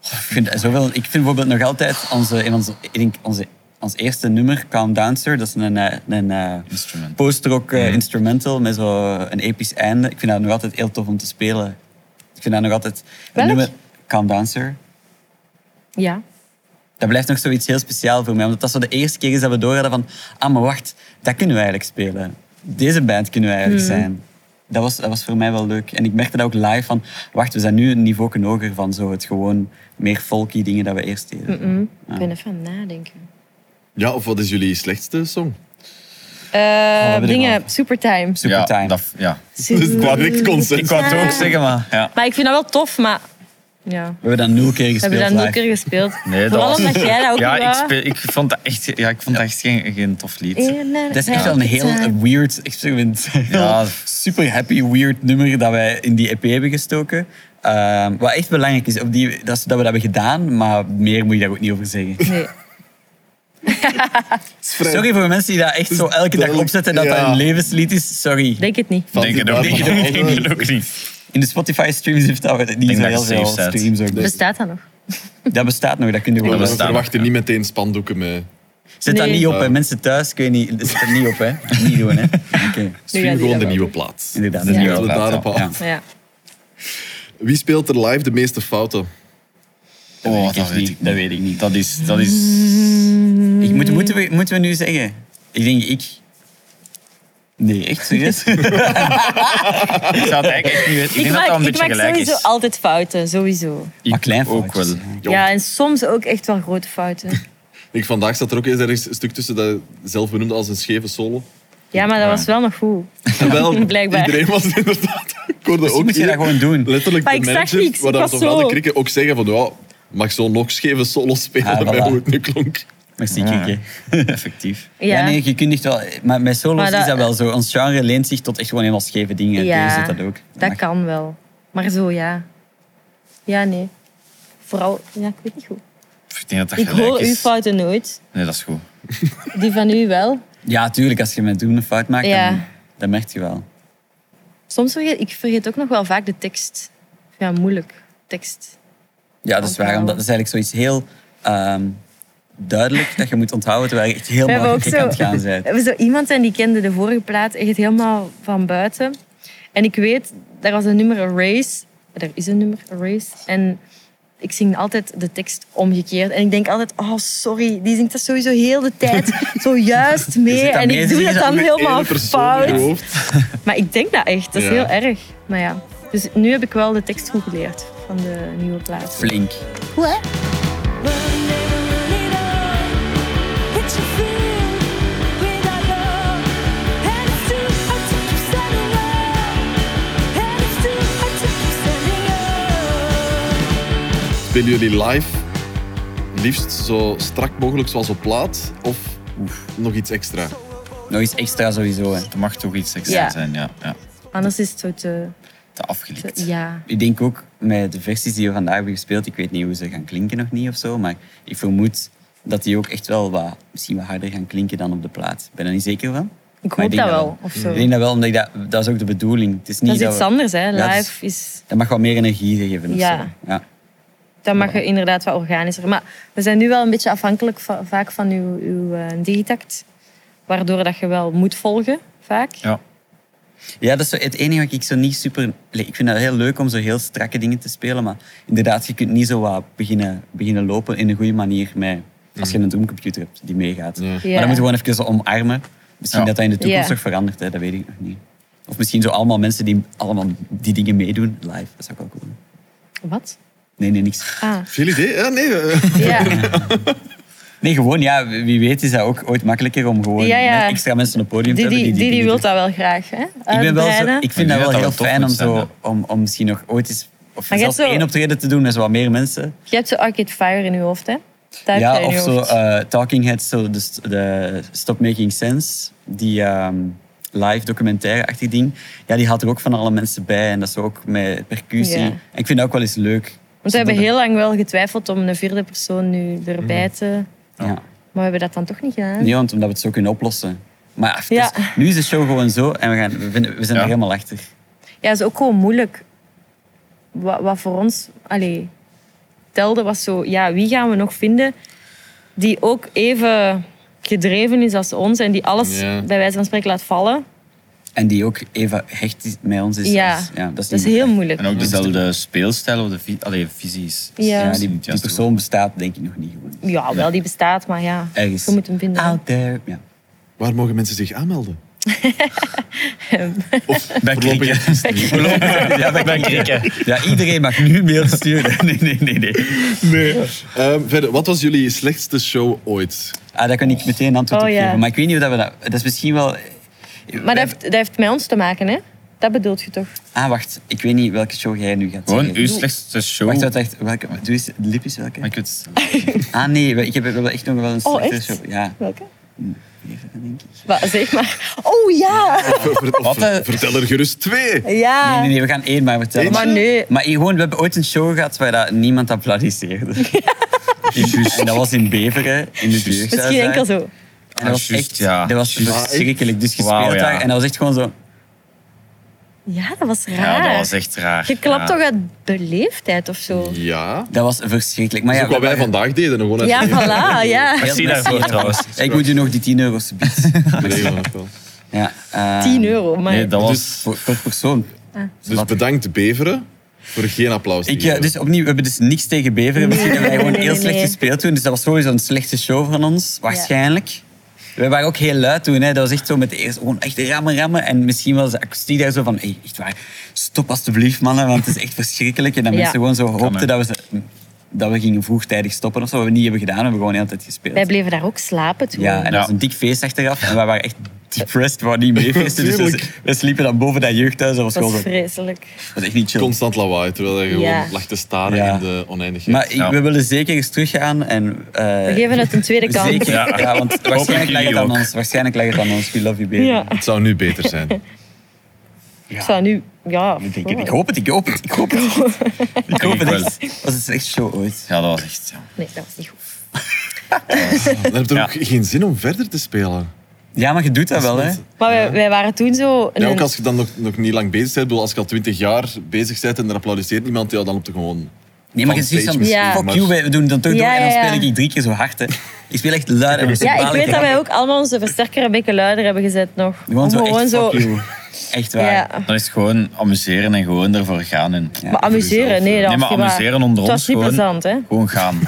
Oh, Ik vind, zoveel, ik vind bijvoorbeeld nog altijd onze, in onze, ik denk onze, ons eerste nummer, Calm Down Sir, dat is een, eh, een Instrument. post-rock eh, instrumental met zo'n episch einde. Ik vind dat nog altijd heel tof om te spelen. Ik vind dat nog altijd... een Welk? nummer, Calm Down Sir. Ja. Dat blijft nog zoiets heel speciaal voor mij. Omdat dat zo de eerste keer is dat we door hadden van... Ah, maar wacht. Dat kunnen we eigenlijk spelen. Deze band kunnen we eigenlijk Mhm. zijn. Dat was, dat was voor mij wel leuk. En ik merkte dat ook live van... Wacht, we zijn nu een niveau hoger van zo het gewoon meer folky dingen dat we eerst deden. Mm, Ah. Ik ben even aan het nadenken. Ja, of wat is jullie slechtste song? Eh, heb Oh, ik dingen, al. Supertime. Super time. dat- ja. Dat is qua direct concept. Ik wou het ook zeggen, maar... Ja. Maar ik vind dat wel tof, maar... Ja. We hebben dat nul keer We gespeeld hebben dat nul live. keer gespeeld. Nee, dat Vooral was- omdat jij dat ook Ja, niet ik, wou. speel, ik vond dat echt, ja, ik vond dat echt geen, geen tof lied. Het Dat is echt wel een heel weird experiment. Ja. Super happy, weird nummer dat wij in die EP hebben gestoken. Ehm, wat echt belangrijk is, op die, dat, is dat we dat hebben gedaan, maar meer moet je daar ook niet over zeggen. Nee. Sorry voor de mensen die dat echt zo elke dag duidelijk- opzetten dat dat ja. hun levenslied is. Sorry. Denk het niet. Denk het ook niet. Denk het ook niet. In de Spotify streams heeft dat niet denk zo dat heel je safe veel staat. streams ook. Dus Bestaat dat nog? dat bestaat nog, dat kun je We gewoon. bestaat. verwachten niet meteen spandoeken mee. Zet dat Nee. niet op, hè. Ja. mensen thuis, ik weet niet, zet dat niet op, hè. Niet doen, hè. Oké, gaat Stream die gewoon de dan nieuwe plaat. inderdaad. Ja. Laten we Ja. daarop Ja. af. Ja. Wie speelt er live de meeste fouten? Oh, dat weet ik niet. Dat weet ik niet. Dat is... Dat is Mm. Ik moet, moeten, we, moeten we nu zeggen? Ik denk ik. Nee, echt serieus? ik zou het eigenlijk echt niet weten. Ik, Ik denk dat dat maak, een ik beetje maak gelijk sowieso is. altijd fouten, sowieso. Ik Maar klein ook wel. foutjes, Ja, en soms ook echt wel grote fouten. Ik vandaag zat er ook eens ergens een stuk tussen dat je zelf benoemde als een scheve solo. Ja, maar dat was wel nog goed. En wel, Blijkbaar. iedereen was het inderdaad. Ik hoorde Misschien ook moet je dat hier gewoon doen. Letterlijk Maar de ik zag manager, niks, waar ik dan was toch wel de zo. krikken ook zeggen van ja, mag zo nog scheve solo spelen Ah, met voilà. hoe het nu klonk. Merci, Ja. Kiki. Effectief. Ja, Ja, nee, je kunt echt wel... Maar met solos Maar dat- is dat wel zo. Ons genre leent zich tot echt gewoon helemaal scheve dingen. Ja, Ja, zit dat ook. dat Mag. kan wel. Maar zo, ja. Ja, nee. Vooral, ja, ik weet niet goed. Ik denk dat dat Ik gelijk hoor is. uw fouten nooit. Nee, dat is goed. Die van u wel. Ja, tuurlijk, als je met doen een fout maakt, Ja. dan, dan merk je wel. Soms vergeet ik vergeet ook nog wel vaak de tekst. Ja, moeilijk. Tekst. Ja, dat is waar. Omdat dat is eigenlijk zoiets heel ehm, duidelijk dat je moet onthouden terwijl je echt helemaal hebben aan ook het zo- gaan bent. Er was zo iemand en die kende de vorige plaat echt helemaal van buiten. En ik weet, daar was een nummer, een race. Er is een nummer, een race. En ik zing altijd de tekst omgekeerd. En ik denk altijd, oh sorry, die zingt dat sowieso heel de tijd zojuist mee. zit aan En mee ik te doe dat zingen dan met helemaal Eén persoon in je fout. hoofd. Maar ik denk dat echt, dat is Ja. heel erg. Maar ja, dus nu heb ik wel de tekst goed geleerd van de nieuwe plaat. Flink. Goed hè? Spelen jullie live liefst zo strak mogelijk zoals op plaat of nog iets extra? Nog iets extra sowieso. Hè. Er mag toch iets extra Ja. zijn, ja. ja. Anders is het zo te... Te te- afgelikt. ja. Ik denk ook met de versies die we vandaag hebben gespeeld, ik weet niet hoe ze gaan klinken nog niet of zo, maar ik vermoed dat die ook echt wel wat, misschien wat harder gaan klinken dan op de plaat. Ik ben er niet zeker van. Ik Maar hoop denk dat wel, of zo. Ik denk dat wel, omdat ik dat, dat is ook de bedoeling. Het is niet Dat is dat iets we- anders, hè. Ja, dat is- Live is... Dat mag wat meer energie geven. of Ja. zo. ja. Dan mag je inderdaad wat organischer. Maar we zijn nu wel een beetje afhankelijk va- vaak van uw, uw eh, digitact. Waardoor dat je wel moet volgen, vaak. Ja. Ja, dat is zo het enige wat ik zo niet super... Allee, Ik vind dat heel leuk om zo heel strakke dingen te spelen, maar inderdaad, je kunt niet zo wat beginnen, beginnen lopen in een goede manier met, als je een droomcomputer hebt die meegaat. Maar Ja. dan moet je gewoon even zo omarmen. Misschien Ja. dat dat in de toekomst Ja. nog verandert, hè, dat weet ik nog niet. Of misschien zo allemaal mensen die allemaal die dingen meedoen live. Dat zou ik wel cool. vinden. Wat? Nee, nee, niks. Ah, Veel idee? Ja, nee. eh, ja. Nee, gewoon, ja, wie weet is dat ook ooit makkelijker om gewoon Ja, ja. met extra mensen op het podium te Didi, hebben. Didi, dingen wil doen. dat wel graag, hè? Eh, Ik, ben wel zo, Uitbreiden. ik vind Maar dat ik wel denk dat heel dat wel fijn om, tof zo, moet zijn, om, om misschien nog ooit eens... Of Maar je zelfs hebt zo- één optreden te doen met zo wat meer mensen. Je hebt zo Arcade Fire in je hoofd, hè? Dat ja, heb jij in of je zo hoofd. eh, Talking Heads, zo de, st- de Stop Making Sense, die ehm, live documentaire-achtig ding. Ja, die haalt er ook van alle mensen bij. En dat is ook met percussie. Ja. En ik vind dat ook wel eens leuk. Want we hebben heel lang wel getwijfeld om een vierde persoon nu Mm. erbij te... Ja. Maar we hebben dat dan toch niet gedaan. Nee, want omdat we het zo kunnen oplossen. Maar ja, het is- Ja. nu is de show gewoon zo en we, gaan, we, vinden- we zijn Ja. er helemaal achter. Ja, dat is ook gewoon moeilijk. Wat, wat voor ons allee, telde was zo... Ja, wie gaan we nog vinden die ook even gedreven is als ons en die alles Ja. bij wijze van spreken laat vallen? En die ook even hecht is- met ons is. ja. als- dat is, dat is niet- heel moeilijk. En ook dezelfde speelstijl of de vi allee, visies. Ja. Ja, Dat is die, niet die juist persoon bestaat denk ik nog niet gewoon. Ja, wel, die bestaat, maar ja. Ergens. Ah, Je moet hem vinden. Out there. Ja. Waar mogen mensen zich aanmelden? woord. Bij Voorlopig krieken. Voorlopig. Ja, bij krieken. ja, iedereen mag nu mail sturen. Nee, nee, nee. nee. Ehm, verder, wat was jullie slechtste show ooit? Ah, daar kan ik meteen een antwoord Oh, op ja. geven. Maar ik weet niet of dat we dat... Dat is misschien wel... Maar dat heeft, dat heeft met ons te maken, hè? Dat bedoelt je toch? Ah, wacht. Ik weet niet welke show jij nu gaat Gewoon zeggen. uw slechtste show. Wacht, wacht, wacht. Welke, doe eens, lip is welke? Maar ik weet het. Ah, nee. we- Ik heb wel echt nog wel een Oh, slechte echt? show. Ja. Welke? Even, denk ik. Wa- zeg maar. Oh ja! Ver- ver- of eh, ver- vertel er gerust twee. Ja! Nee, nee, nee, we gaan één maar vertellen. Maar nee. Maar hier gewoon, we hebben ooit een show gehad waar dat niemand applaudisseerde. En dat was in Beveren, in de buurt. Misschien enkel zo. En dat was Ah, juist, echt ja. dat was Juist. verschrikkelijk. Dus gespeeld Wauw, ja. daar. En dat was echt gewoon zo... Ja, dat was raar. Ja, dat was echt raar. Je klapt Ja. toch uit beleefdheid of zo? Ja. Dat was verschrikkelijk. Maar Dat is ja, ook wat wij we- vandaag deden. Gewoon uit Ja, de- voilà, ja. Merci daarvoor trouwens. Ik moet u nog die 10 euro bieden. de regel ook wel. Ja, eh, dus 10 euro, maar... Nee, dat was... Voor, per persoon. Dus bedankt Beveren voor geen applaus. te Ik, eh, geven. dus opnieuw, we hebben dus niks tegen Beveren. Misschien hebben wij gewoon nee, heel nee, slecht nee. gespeeld toen. Dus dat was sowieso een slechte show van ons, waarschijnlijk. We waren ook heel luid toen. Hè. Dat was echt zo met de eerste, gewoon echt rammen, rammen. En misschien was de akoestiek daar zo van, hey, echt waar, stop alstublieft mannen, want het is echt verschrikkelijk. En dat Ja. mensen gewoon zo hè. hoopten dat we, ze- dat we gingen vroegtijdig stoppen of zo. Wat we niet hebben gedaan, we hebben gewoon de hele tijd gespeeld. Wij bleven daar ook slapen toen. Ja, en Ja. dat was een dik feest achteraf. En we waren echt depressed, we wouden niet mee feesten. Dus we, Tuurlijk. we sliepen dan boven dat jeugdhuis. Dat was dat gewoon was zo- vreselijk. dat was echt niet chill. Constant lawaai, terwijl je gewoon Ja. lag te staren Ja. in de oneindigheid. Maar ik- Ja. we willen zeker eens teruggaan. En, eh, We geven het een tweede kans. Zeker, Ja. ja. want Hopelijk waarschijnlijk lag het jullie aan ook. ons. Waarschijnlijk lag het aan ons. We love you, baby. Ja. Het zou nu beter zijn. Ik zou nu... Ja, Ik, denk het. ik hoop het, ik hoop het, ik hoop het. Ik hoop het wel. echt. Dat was een slecht show ooit. Ja, dat was echt... Ja. Nee, dat was niet goed. Dan heb je Ja. ook geen zin om verder te spelen. Ja, maar je doet dat wel, hè. Maar wij, wij waren toen zo... Ja, ook een- als je dan nog, nog niet lang bezig bent. Ik bedoel, als je al twintig jaar bezig bent en er applaudisseert niemand, ja, dan op de gewoon... Nee, maar je Van ziet stage dan, misschien, fuck maar- you, wij- we doen het dan toch Ja, door. En dan ja, ja. speel ik drie keer zo hard, hè. Ik speel echt luid. En ja, ik weet dat wij ook allemaal onze versterker een beetje luider hebben gezet nog. Gewoon Om zo, echt, fuck you. Echt waar. Ja. Dan is het gewoon amuseren en gewoon ervoor gaan. En... maar amuseren, nee, dat was Nee, maar niet waar. amuseren onder Het was ons niet gewoon. plezant, hè? Gewoon gaan.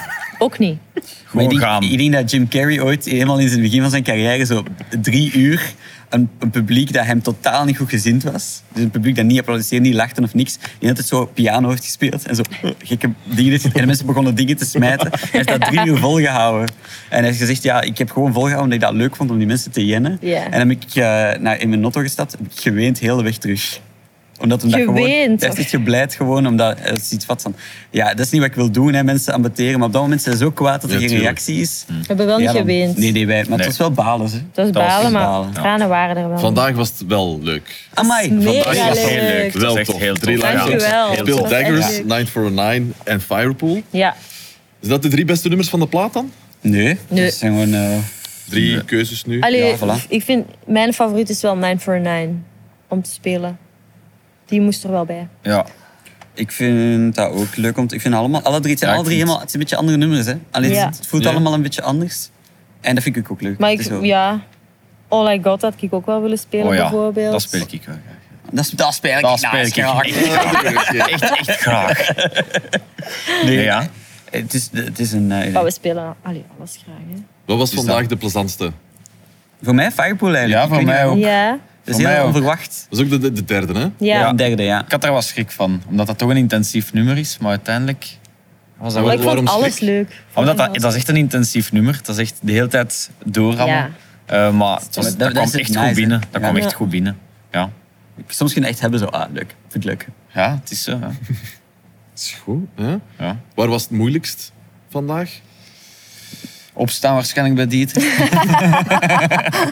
Ook niet. Maar Gewoon ik, gaan. denk, ik denk dat Jim Carrey ooit, helemaal in het begin van zijn carrière, zo drie uur, een, een publiek dat hem totaal niet goed gezind was. Dus een publiek dat niet applaudisseerde, niet lachte of niks. Die altijd zo piano heeft gespeeld en zo gekke dingen. heeft- En de mensen begonnen dingen te smijten. Hij heeft dat drie uur volgehouden. En hij heeft gezegd, ja, ik heb gewoon volgehouden omdat ik dat leuk vond om die mensen te jennen. Ja. En dan heb ik eh, naar, in mijn auto gestapt, heb ik geweend heel de weg terug omdat hem dat gewoon, hij Geweend. heeft echt geblijd gewoon, omdat hij is iets vat van... Ja, dat is niet wat ik wil doen, hè, mensen ambeteren. Maar op dat moment zijn ze zo kwaad dat er Ja, geen tuurlijk. reactie is. We hebben wel Ja, niet dan- geweend. Nee, nee, wij, maar Hm. Nee. het was wel balen. Hè. Dat was Dat was balen, echt maar balen. tranen waren er wel. Vandaag was het wel leuk. Amai. Mega Vandaag was het Oh. leuk. Dat Wel is echt tof. heel Drie tof. live Dankjewel. shows. Heel Bill tof. Daggers, Ja. 949 en Firepool. Ja. Zijn dat de drie beste nummers van de plaat dan? Nee, Nee. dat zijn gewoon... eh, Drie keuzes nu. Allee, Ja, voilà. ik vind, mijn favoriet is wel 9 for 9 om te spelen. Die moest er wel bij. Ja. ik vind dat ook leuk om te... Ik vind allemaal... Alle drie, het zijn Ja, alle drie ik vind- helemaal... Het zijn een beetje andere nummers, hè. Alleen Ja. het, het voelt Ja. allemaal een beetje anders. En dat vind ik ook leuk. Maar Het ik, is zo- ja, All I Got had ik ook wel willen spelen, Oh ja, bijvoorbeeld. dat speel ik wel graag. Dat, is- dat speel ik Dat niet speel naast, ik graag. Echt, echt graag. Nee, Ja. Het is, het is een... eh, Maar Oh, we spelen allee, alles graag. Hè. Wat was vandaag de plezantste? voor mij Firepool eigenlijk. Ja, Ik voor weet mij niet, ook. Ja, Dat Voor is mij heel ook. onverwacht. Dat is ook de, de, de derde, hè? ja. Een derde, ja. Ik had er wel schrik van, omdat dat toch een intensief nummer is. Maar uiteindelijk Maar Was dat wel- ik vond waarom alles schrik? leuk. Omdat Oh, dat, dat is echt een intensief nummer. Dat is echt de hele tijd doorrammen. Ja. Eh, maar het was, Dat- dat, dat kwam is het echt nice, hè? goed binnen. Dat Ja. kwam echt Ja. goed binnen. Ja, Soms kun je echt hebben zo, ah, leuk. Vind het leuk. ja het is eh, zo. hè. is goed. Hè? Ja. Waar was het moeilijkst vandaag? Opstaan waarschijnlijk bij Dieter.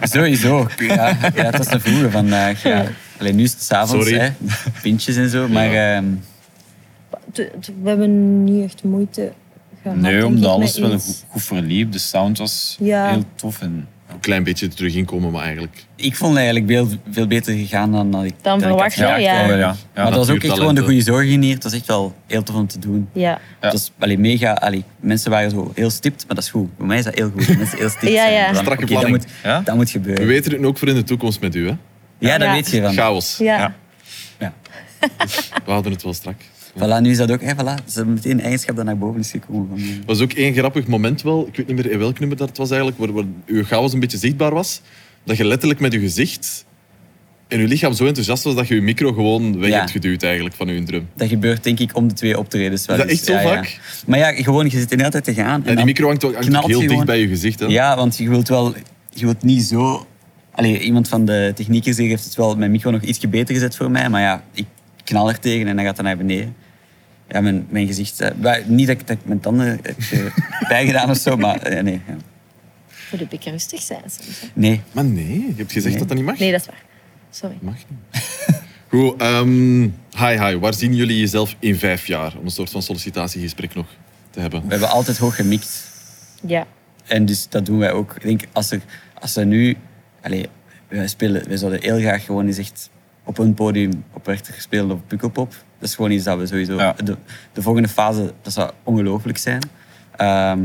Sowieso. Ja, ja, het was een vroege vandaag. eh, Ja. Alleen nu is het s'avonds, Sorry. hè. Pintjes en zo. Maar ehm, Het- het- We hebben niet echt moeite gehad. denk Nee, ik, omdat alles met wel iets. goed, goed verliep. De sound was Ja. heel tof. En, Een klein beetje terug inkomen, maar eigenlijk... ik vond het eigenlijk veel, veel beter gegaan dan dat ik Dan dat ik had verwacht je, verwacht. ja. eigenlijk. Ja, ja. maar dat was ook echt gewoon de natuurtalenten. goede zorgen hier. Het was echt wel heel tof om te doen. Ja. Ja. Het was allee, mega... Allee, mensen waren zo heel stipt, maar dat is goed. Voor mij is dat heel goed. dat Mensen heel stipt Ja, zijn. ja. Dan, Strakke oké, dat, planning. moet, Ja? dat moet We gebeuren. weten het nu ook voor in de toekomst met u, hè? ja, dat Ja. weet je dan. Chaos. Ja. Ja. We hadden het wel strak. Voilà, nu is dat ook... Hè, voilà, ze hebben meteen een eigenschap dat naar boven is gekomen. Van, eh, Er was ook één grappig moment wel, ik weet niet meer in welk nummer dat het was eigenlijk, waar, waar uw chaos een beetje zichtbaar was. Dat je letterlijk met je gezicht en je lichaam zo enthousiast was dat je je micro gewoon weg Ja. hebt geduwd eigenlijk van uw drum. Dat gebeurt denk ik om de twee optredens wel Is dat eens. echt zo Ja, ja. vaak? Maar ja, gewoon, je zit de hele tijd te gaan. En die dan micro hangt ook hangt ook knalt heel je dicht gewoon. bij je gezicht. Hè? Ja, want je wilt wel... Je wilt niet zo... Allee, iemand van de techniekers hier heeft het wel mijn micro nog ietsje beter gezet voor mij. Maar ja, ik knal er tegen en dan gaat dat naar beneden. Ja, mijn, mijn gezicht... eh, maar niet dat ik, dat ik mijn tanden heb eh, bijgedaan of zo, maar eh, nee. ja. Moet een beetje rustig zijn soms. hè. Nee. Maar nee, je hebt gezegd Nee. dat dat niet mag. Nee, dat is waar. Sorry. Mag niet. Goed, ehm, hi hi, waar zien jullie jezelf in vijf jaar? Om een soort van sollicitatiegesprek nog te hebben. We hebben altijd hoog gemixt. Ja. En dus dat doen wij ook. Ik denk, als, er, als ze nu... Allee, wij, spelen, wij zouden heel graag gewoon eens echt op een podium op Werchter spelen op Pukkelpop. Dat is gewoon iets dat we sowieso... Ja. De, de volgende fase, dat zou ongelooflijk zijn. Ehm,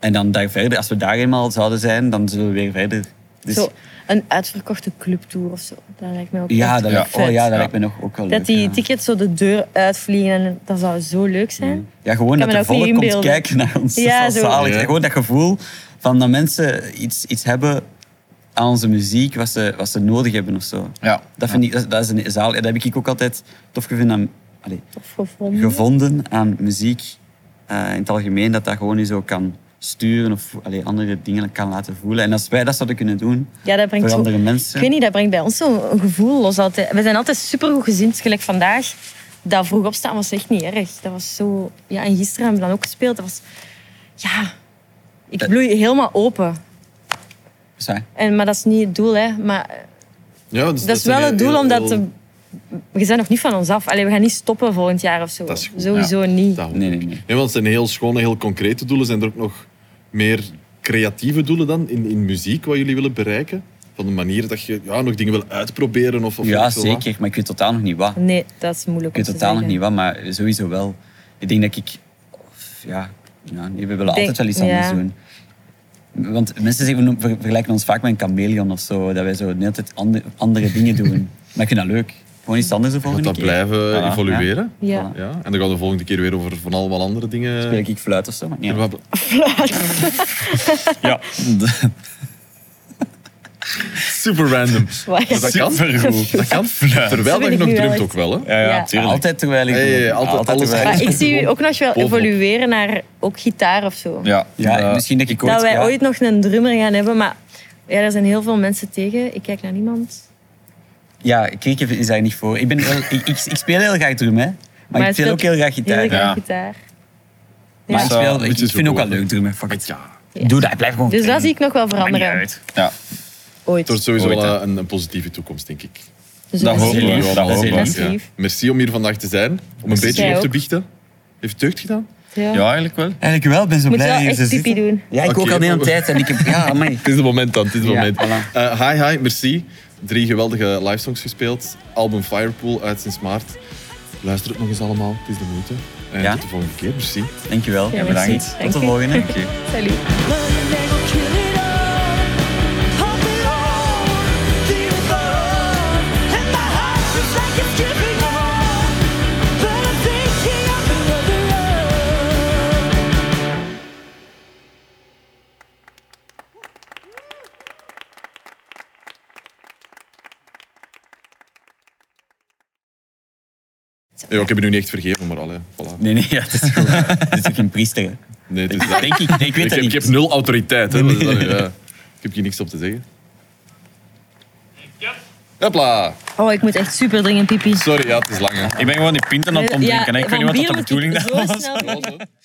en dan daar verder, als we daar eenmaal zouden zijn, dan zullen we weer verder. Dus Zo, een uitverkochte clubtour of zo. Dat lijkt me ook ja, echt dat, lijkt- vet. oh, ja, dat Ja. lijkt me nog ook wel Dat leuk, die ja. tickets zo de deur uitvliegen, en dat zou zo leuk zijn. Ja, gewoon Ik dat kan me er dat ook volk niet komt inbeelden. kijken naar ons. Ja, dat is zo. wel zalig. Ja. Gewoon dat gevoel van dat mensen iets, iets hebben aan onze muziek, wat ze, wat ze nodig hebben of zo. Ja. Dat, vind ik, dat, dat is een zaal. Dat heb ik ook altijd tof gevonden aan, allee, Of gevonden. gevonden aan muziek eh, in het algemeen. Dat dat gewoon je zo kan sturen of allee, andere dingen kan laten voelen. En als wij dat zouden kunnen doen Ja, dat brengt voor zo- andere mensen. Ik weet niet, dat brengt bij ons zo'n gevoel los. Altijd. We zijn altijd supergoed gezind, gelijk vandaag. Dat vroeg opstaan was echt niet erg. Dat was zo... Ja, en gisteren hebben we dan ook gespeeld. Dat was... Ja, ik bloei helemaal open. Sorry. En, maar dat is niet het doel, hè. Maar eh, Ja, dus dat is zijn wel het doel, heel- omdat... heel- de- We zijn nog niet van ons af. Allee, we gaan niet stoppen volgend jaar of zo. Dat is goed, Sowieso niet. Dat hoop Nee, ik. nee, nee. want het zijn heel schone, heel concrete doelen. Zijn er ook nog meer creatieve doelen dan in, in muziek wat jullie willen bereiken? Van de manier dat je ja, nog dingen wil uitproberen? Of, of Ja, weet ik veel wat? zeker. Maar ik weet totaal nog niet wat. Nee, dat is moeilijk Ik weet om te totaal nog zeggen. niet wat, maar sowieso wel. Ik denk dat ik... Ja, ja nee, we willen Denk- altijd wel iets anders ja. doen. Want mensen zeggen, we ver- vergelijken ons vaak met een chameleon of zo. Dat wij zo de hele tijd ander- andere dingen doen. Maar ik vind dat leuk. Gewoon iets anders de Gaat volgende dat keer. blijven Voilà, evolueren? Ja. Ja. En dan gaan we de volgende keer weer over van allemaal andere dingen... ja. Speel ik fluit of zo, maar ja. Wat- ja. Super random. Wat? Maar dat kan. Supergoed. Dat kan. Terwijl Dat dat je vind nog ik nu wel drumt echt- ook wel, hè? Ja, ja, Ja. tuurlijk. Altijd terwijl ik... Ja, ja, ja, altijd alles Maar ik Eigenlijk zie u gewoon ook nog wel bovenop. evolueren naar ook gitaar of zo. Ja, Ja, eh, misschien dat ik ooit... dat wij ja. ooit nog een drummer gaan hebben, maar ja, daar zijn heel veel mensen tegen. Ik kijk naar niemand. Ja, krieken is daar niet voor. Ik, ben heel- ik, ik, ik speel heel graag drum, hè. Maar, hij ik speel ook speelt heel graag gitaar. Heel graag Ja. gitaar. Maar ik, Ja. speel, ik, Dit is ik vind ook ook wel wel. leuk drum, hè. Fuck it. Ja. Doe dat, blijf gewoon Dus dat trainen. zie ik nog wel veranderen. ja. Ooit. Het wordt sowieso Ooit, wel hè. een, een positieve toekomst, denk ik. Dus dat dat hopen is we. lief. Ja, dat hopen we. Dat is Ja. lief. Merci om hier vandaag te zijn. Om een beetje Jij op te ook. biechten. Heeft het deugd gedaan? Ja. ja, eigenlijk wel. Eigenlijk wel, ik ben zo Moet blij wel dat je echt ze pipi zitten. doen. Ja, ik Oké. ook al de hele tijd. En ik heb, ja, amai. Het is het moment dan, het is het Ja, moment. voilà. Eh, hi Hi, merci. Drie geweldige livesongs gespeeld. Album Firepool uit sinds maart. Luister het nog eens allemaal, het is de moeite. En Ja. tot de volgende keer, merci. Dankjewel. Ja, en merci. bedankt. Tot de Dank je. volgende. Salut. Giving up. Ja, ik heb je nu niet echt vergeven, maar allee, voilà. Nee, nee, ja, dat is goed. Het is ook geen priester. hè. Nee, het is dat. Denk ik, nee, ik weet ik, dat heb, niet. ik heb nul autoriteit. Hè. Dat is- ja. Ik heb hier niks op te zeggen. Hopla. Oh, ik moet echt super dringend pipi. Sorry, ja, het is lang. Hè. Ik ben gewoon die pinten aan het Ja, omdrinken. hè. ik van weet niet wat dat bier de moet ik bedoeling zo daarvan was. snel- Ja, zo.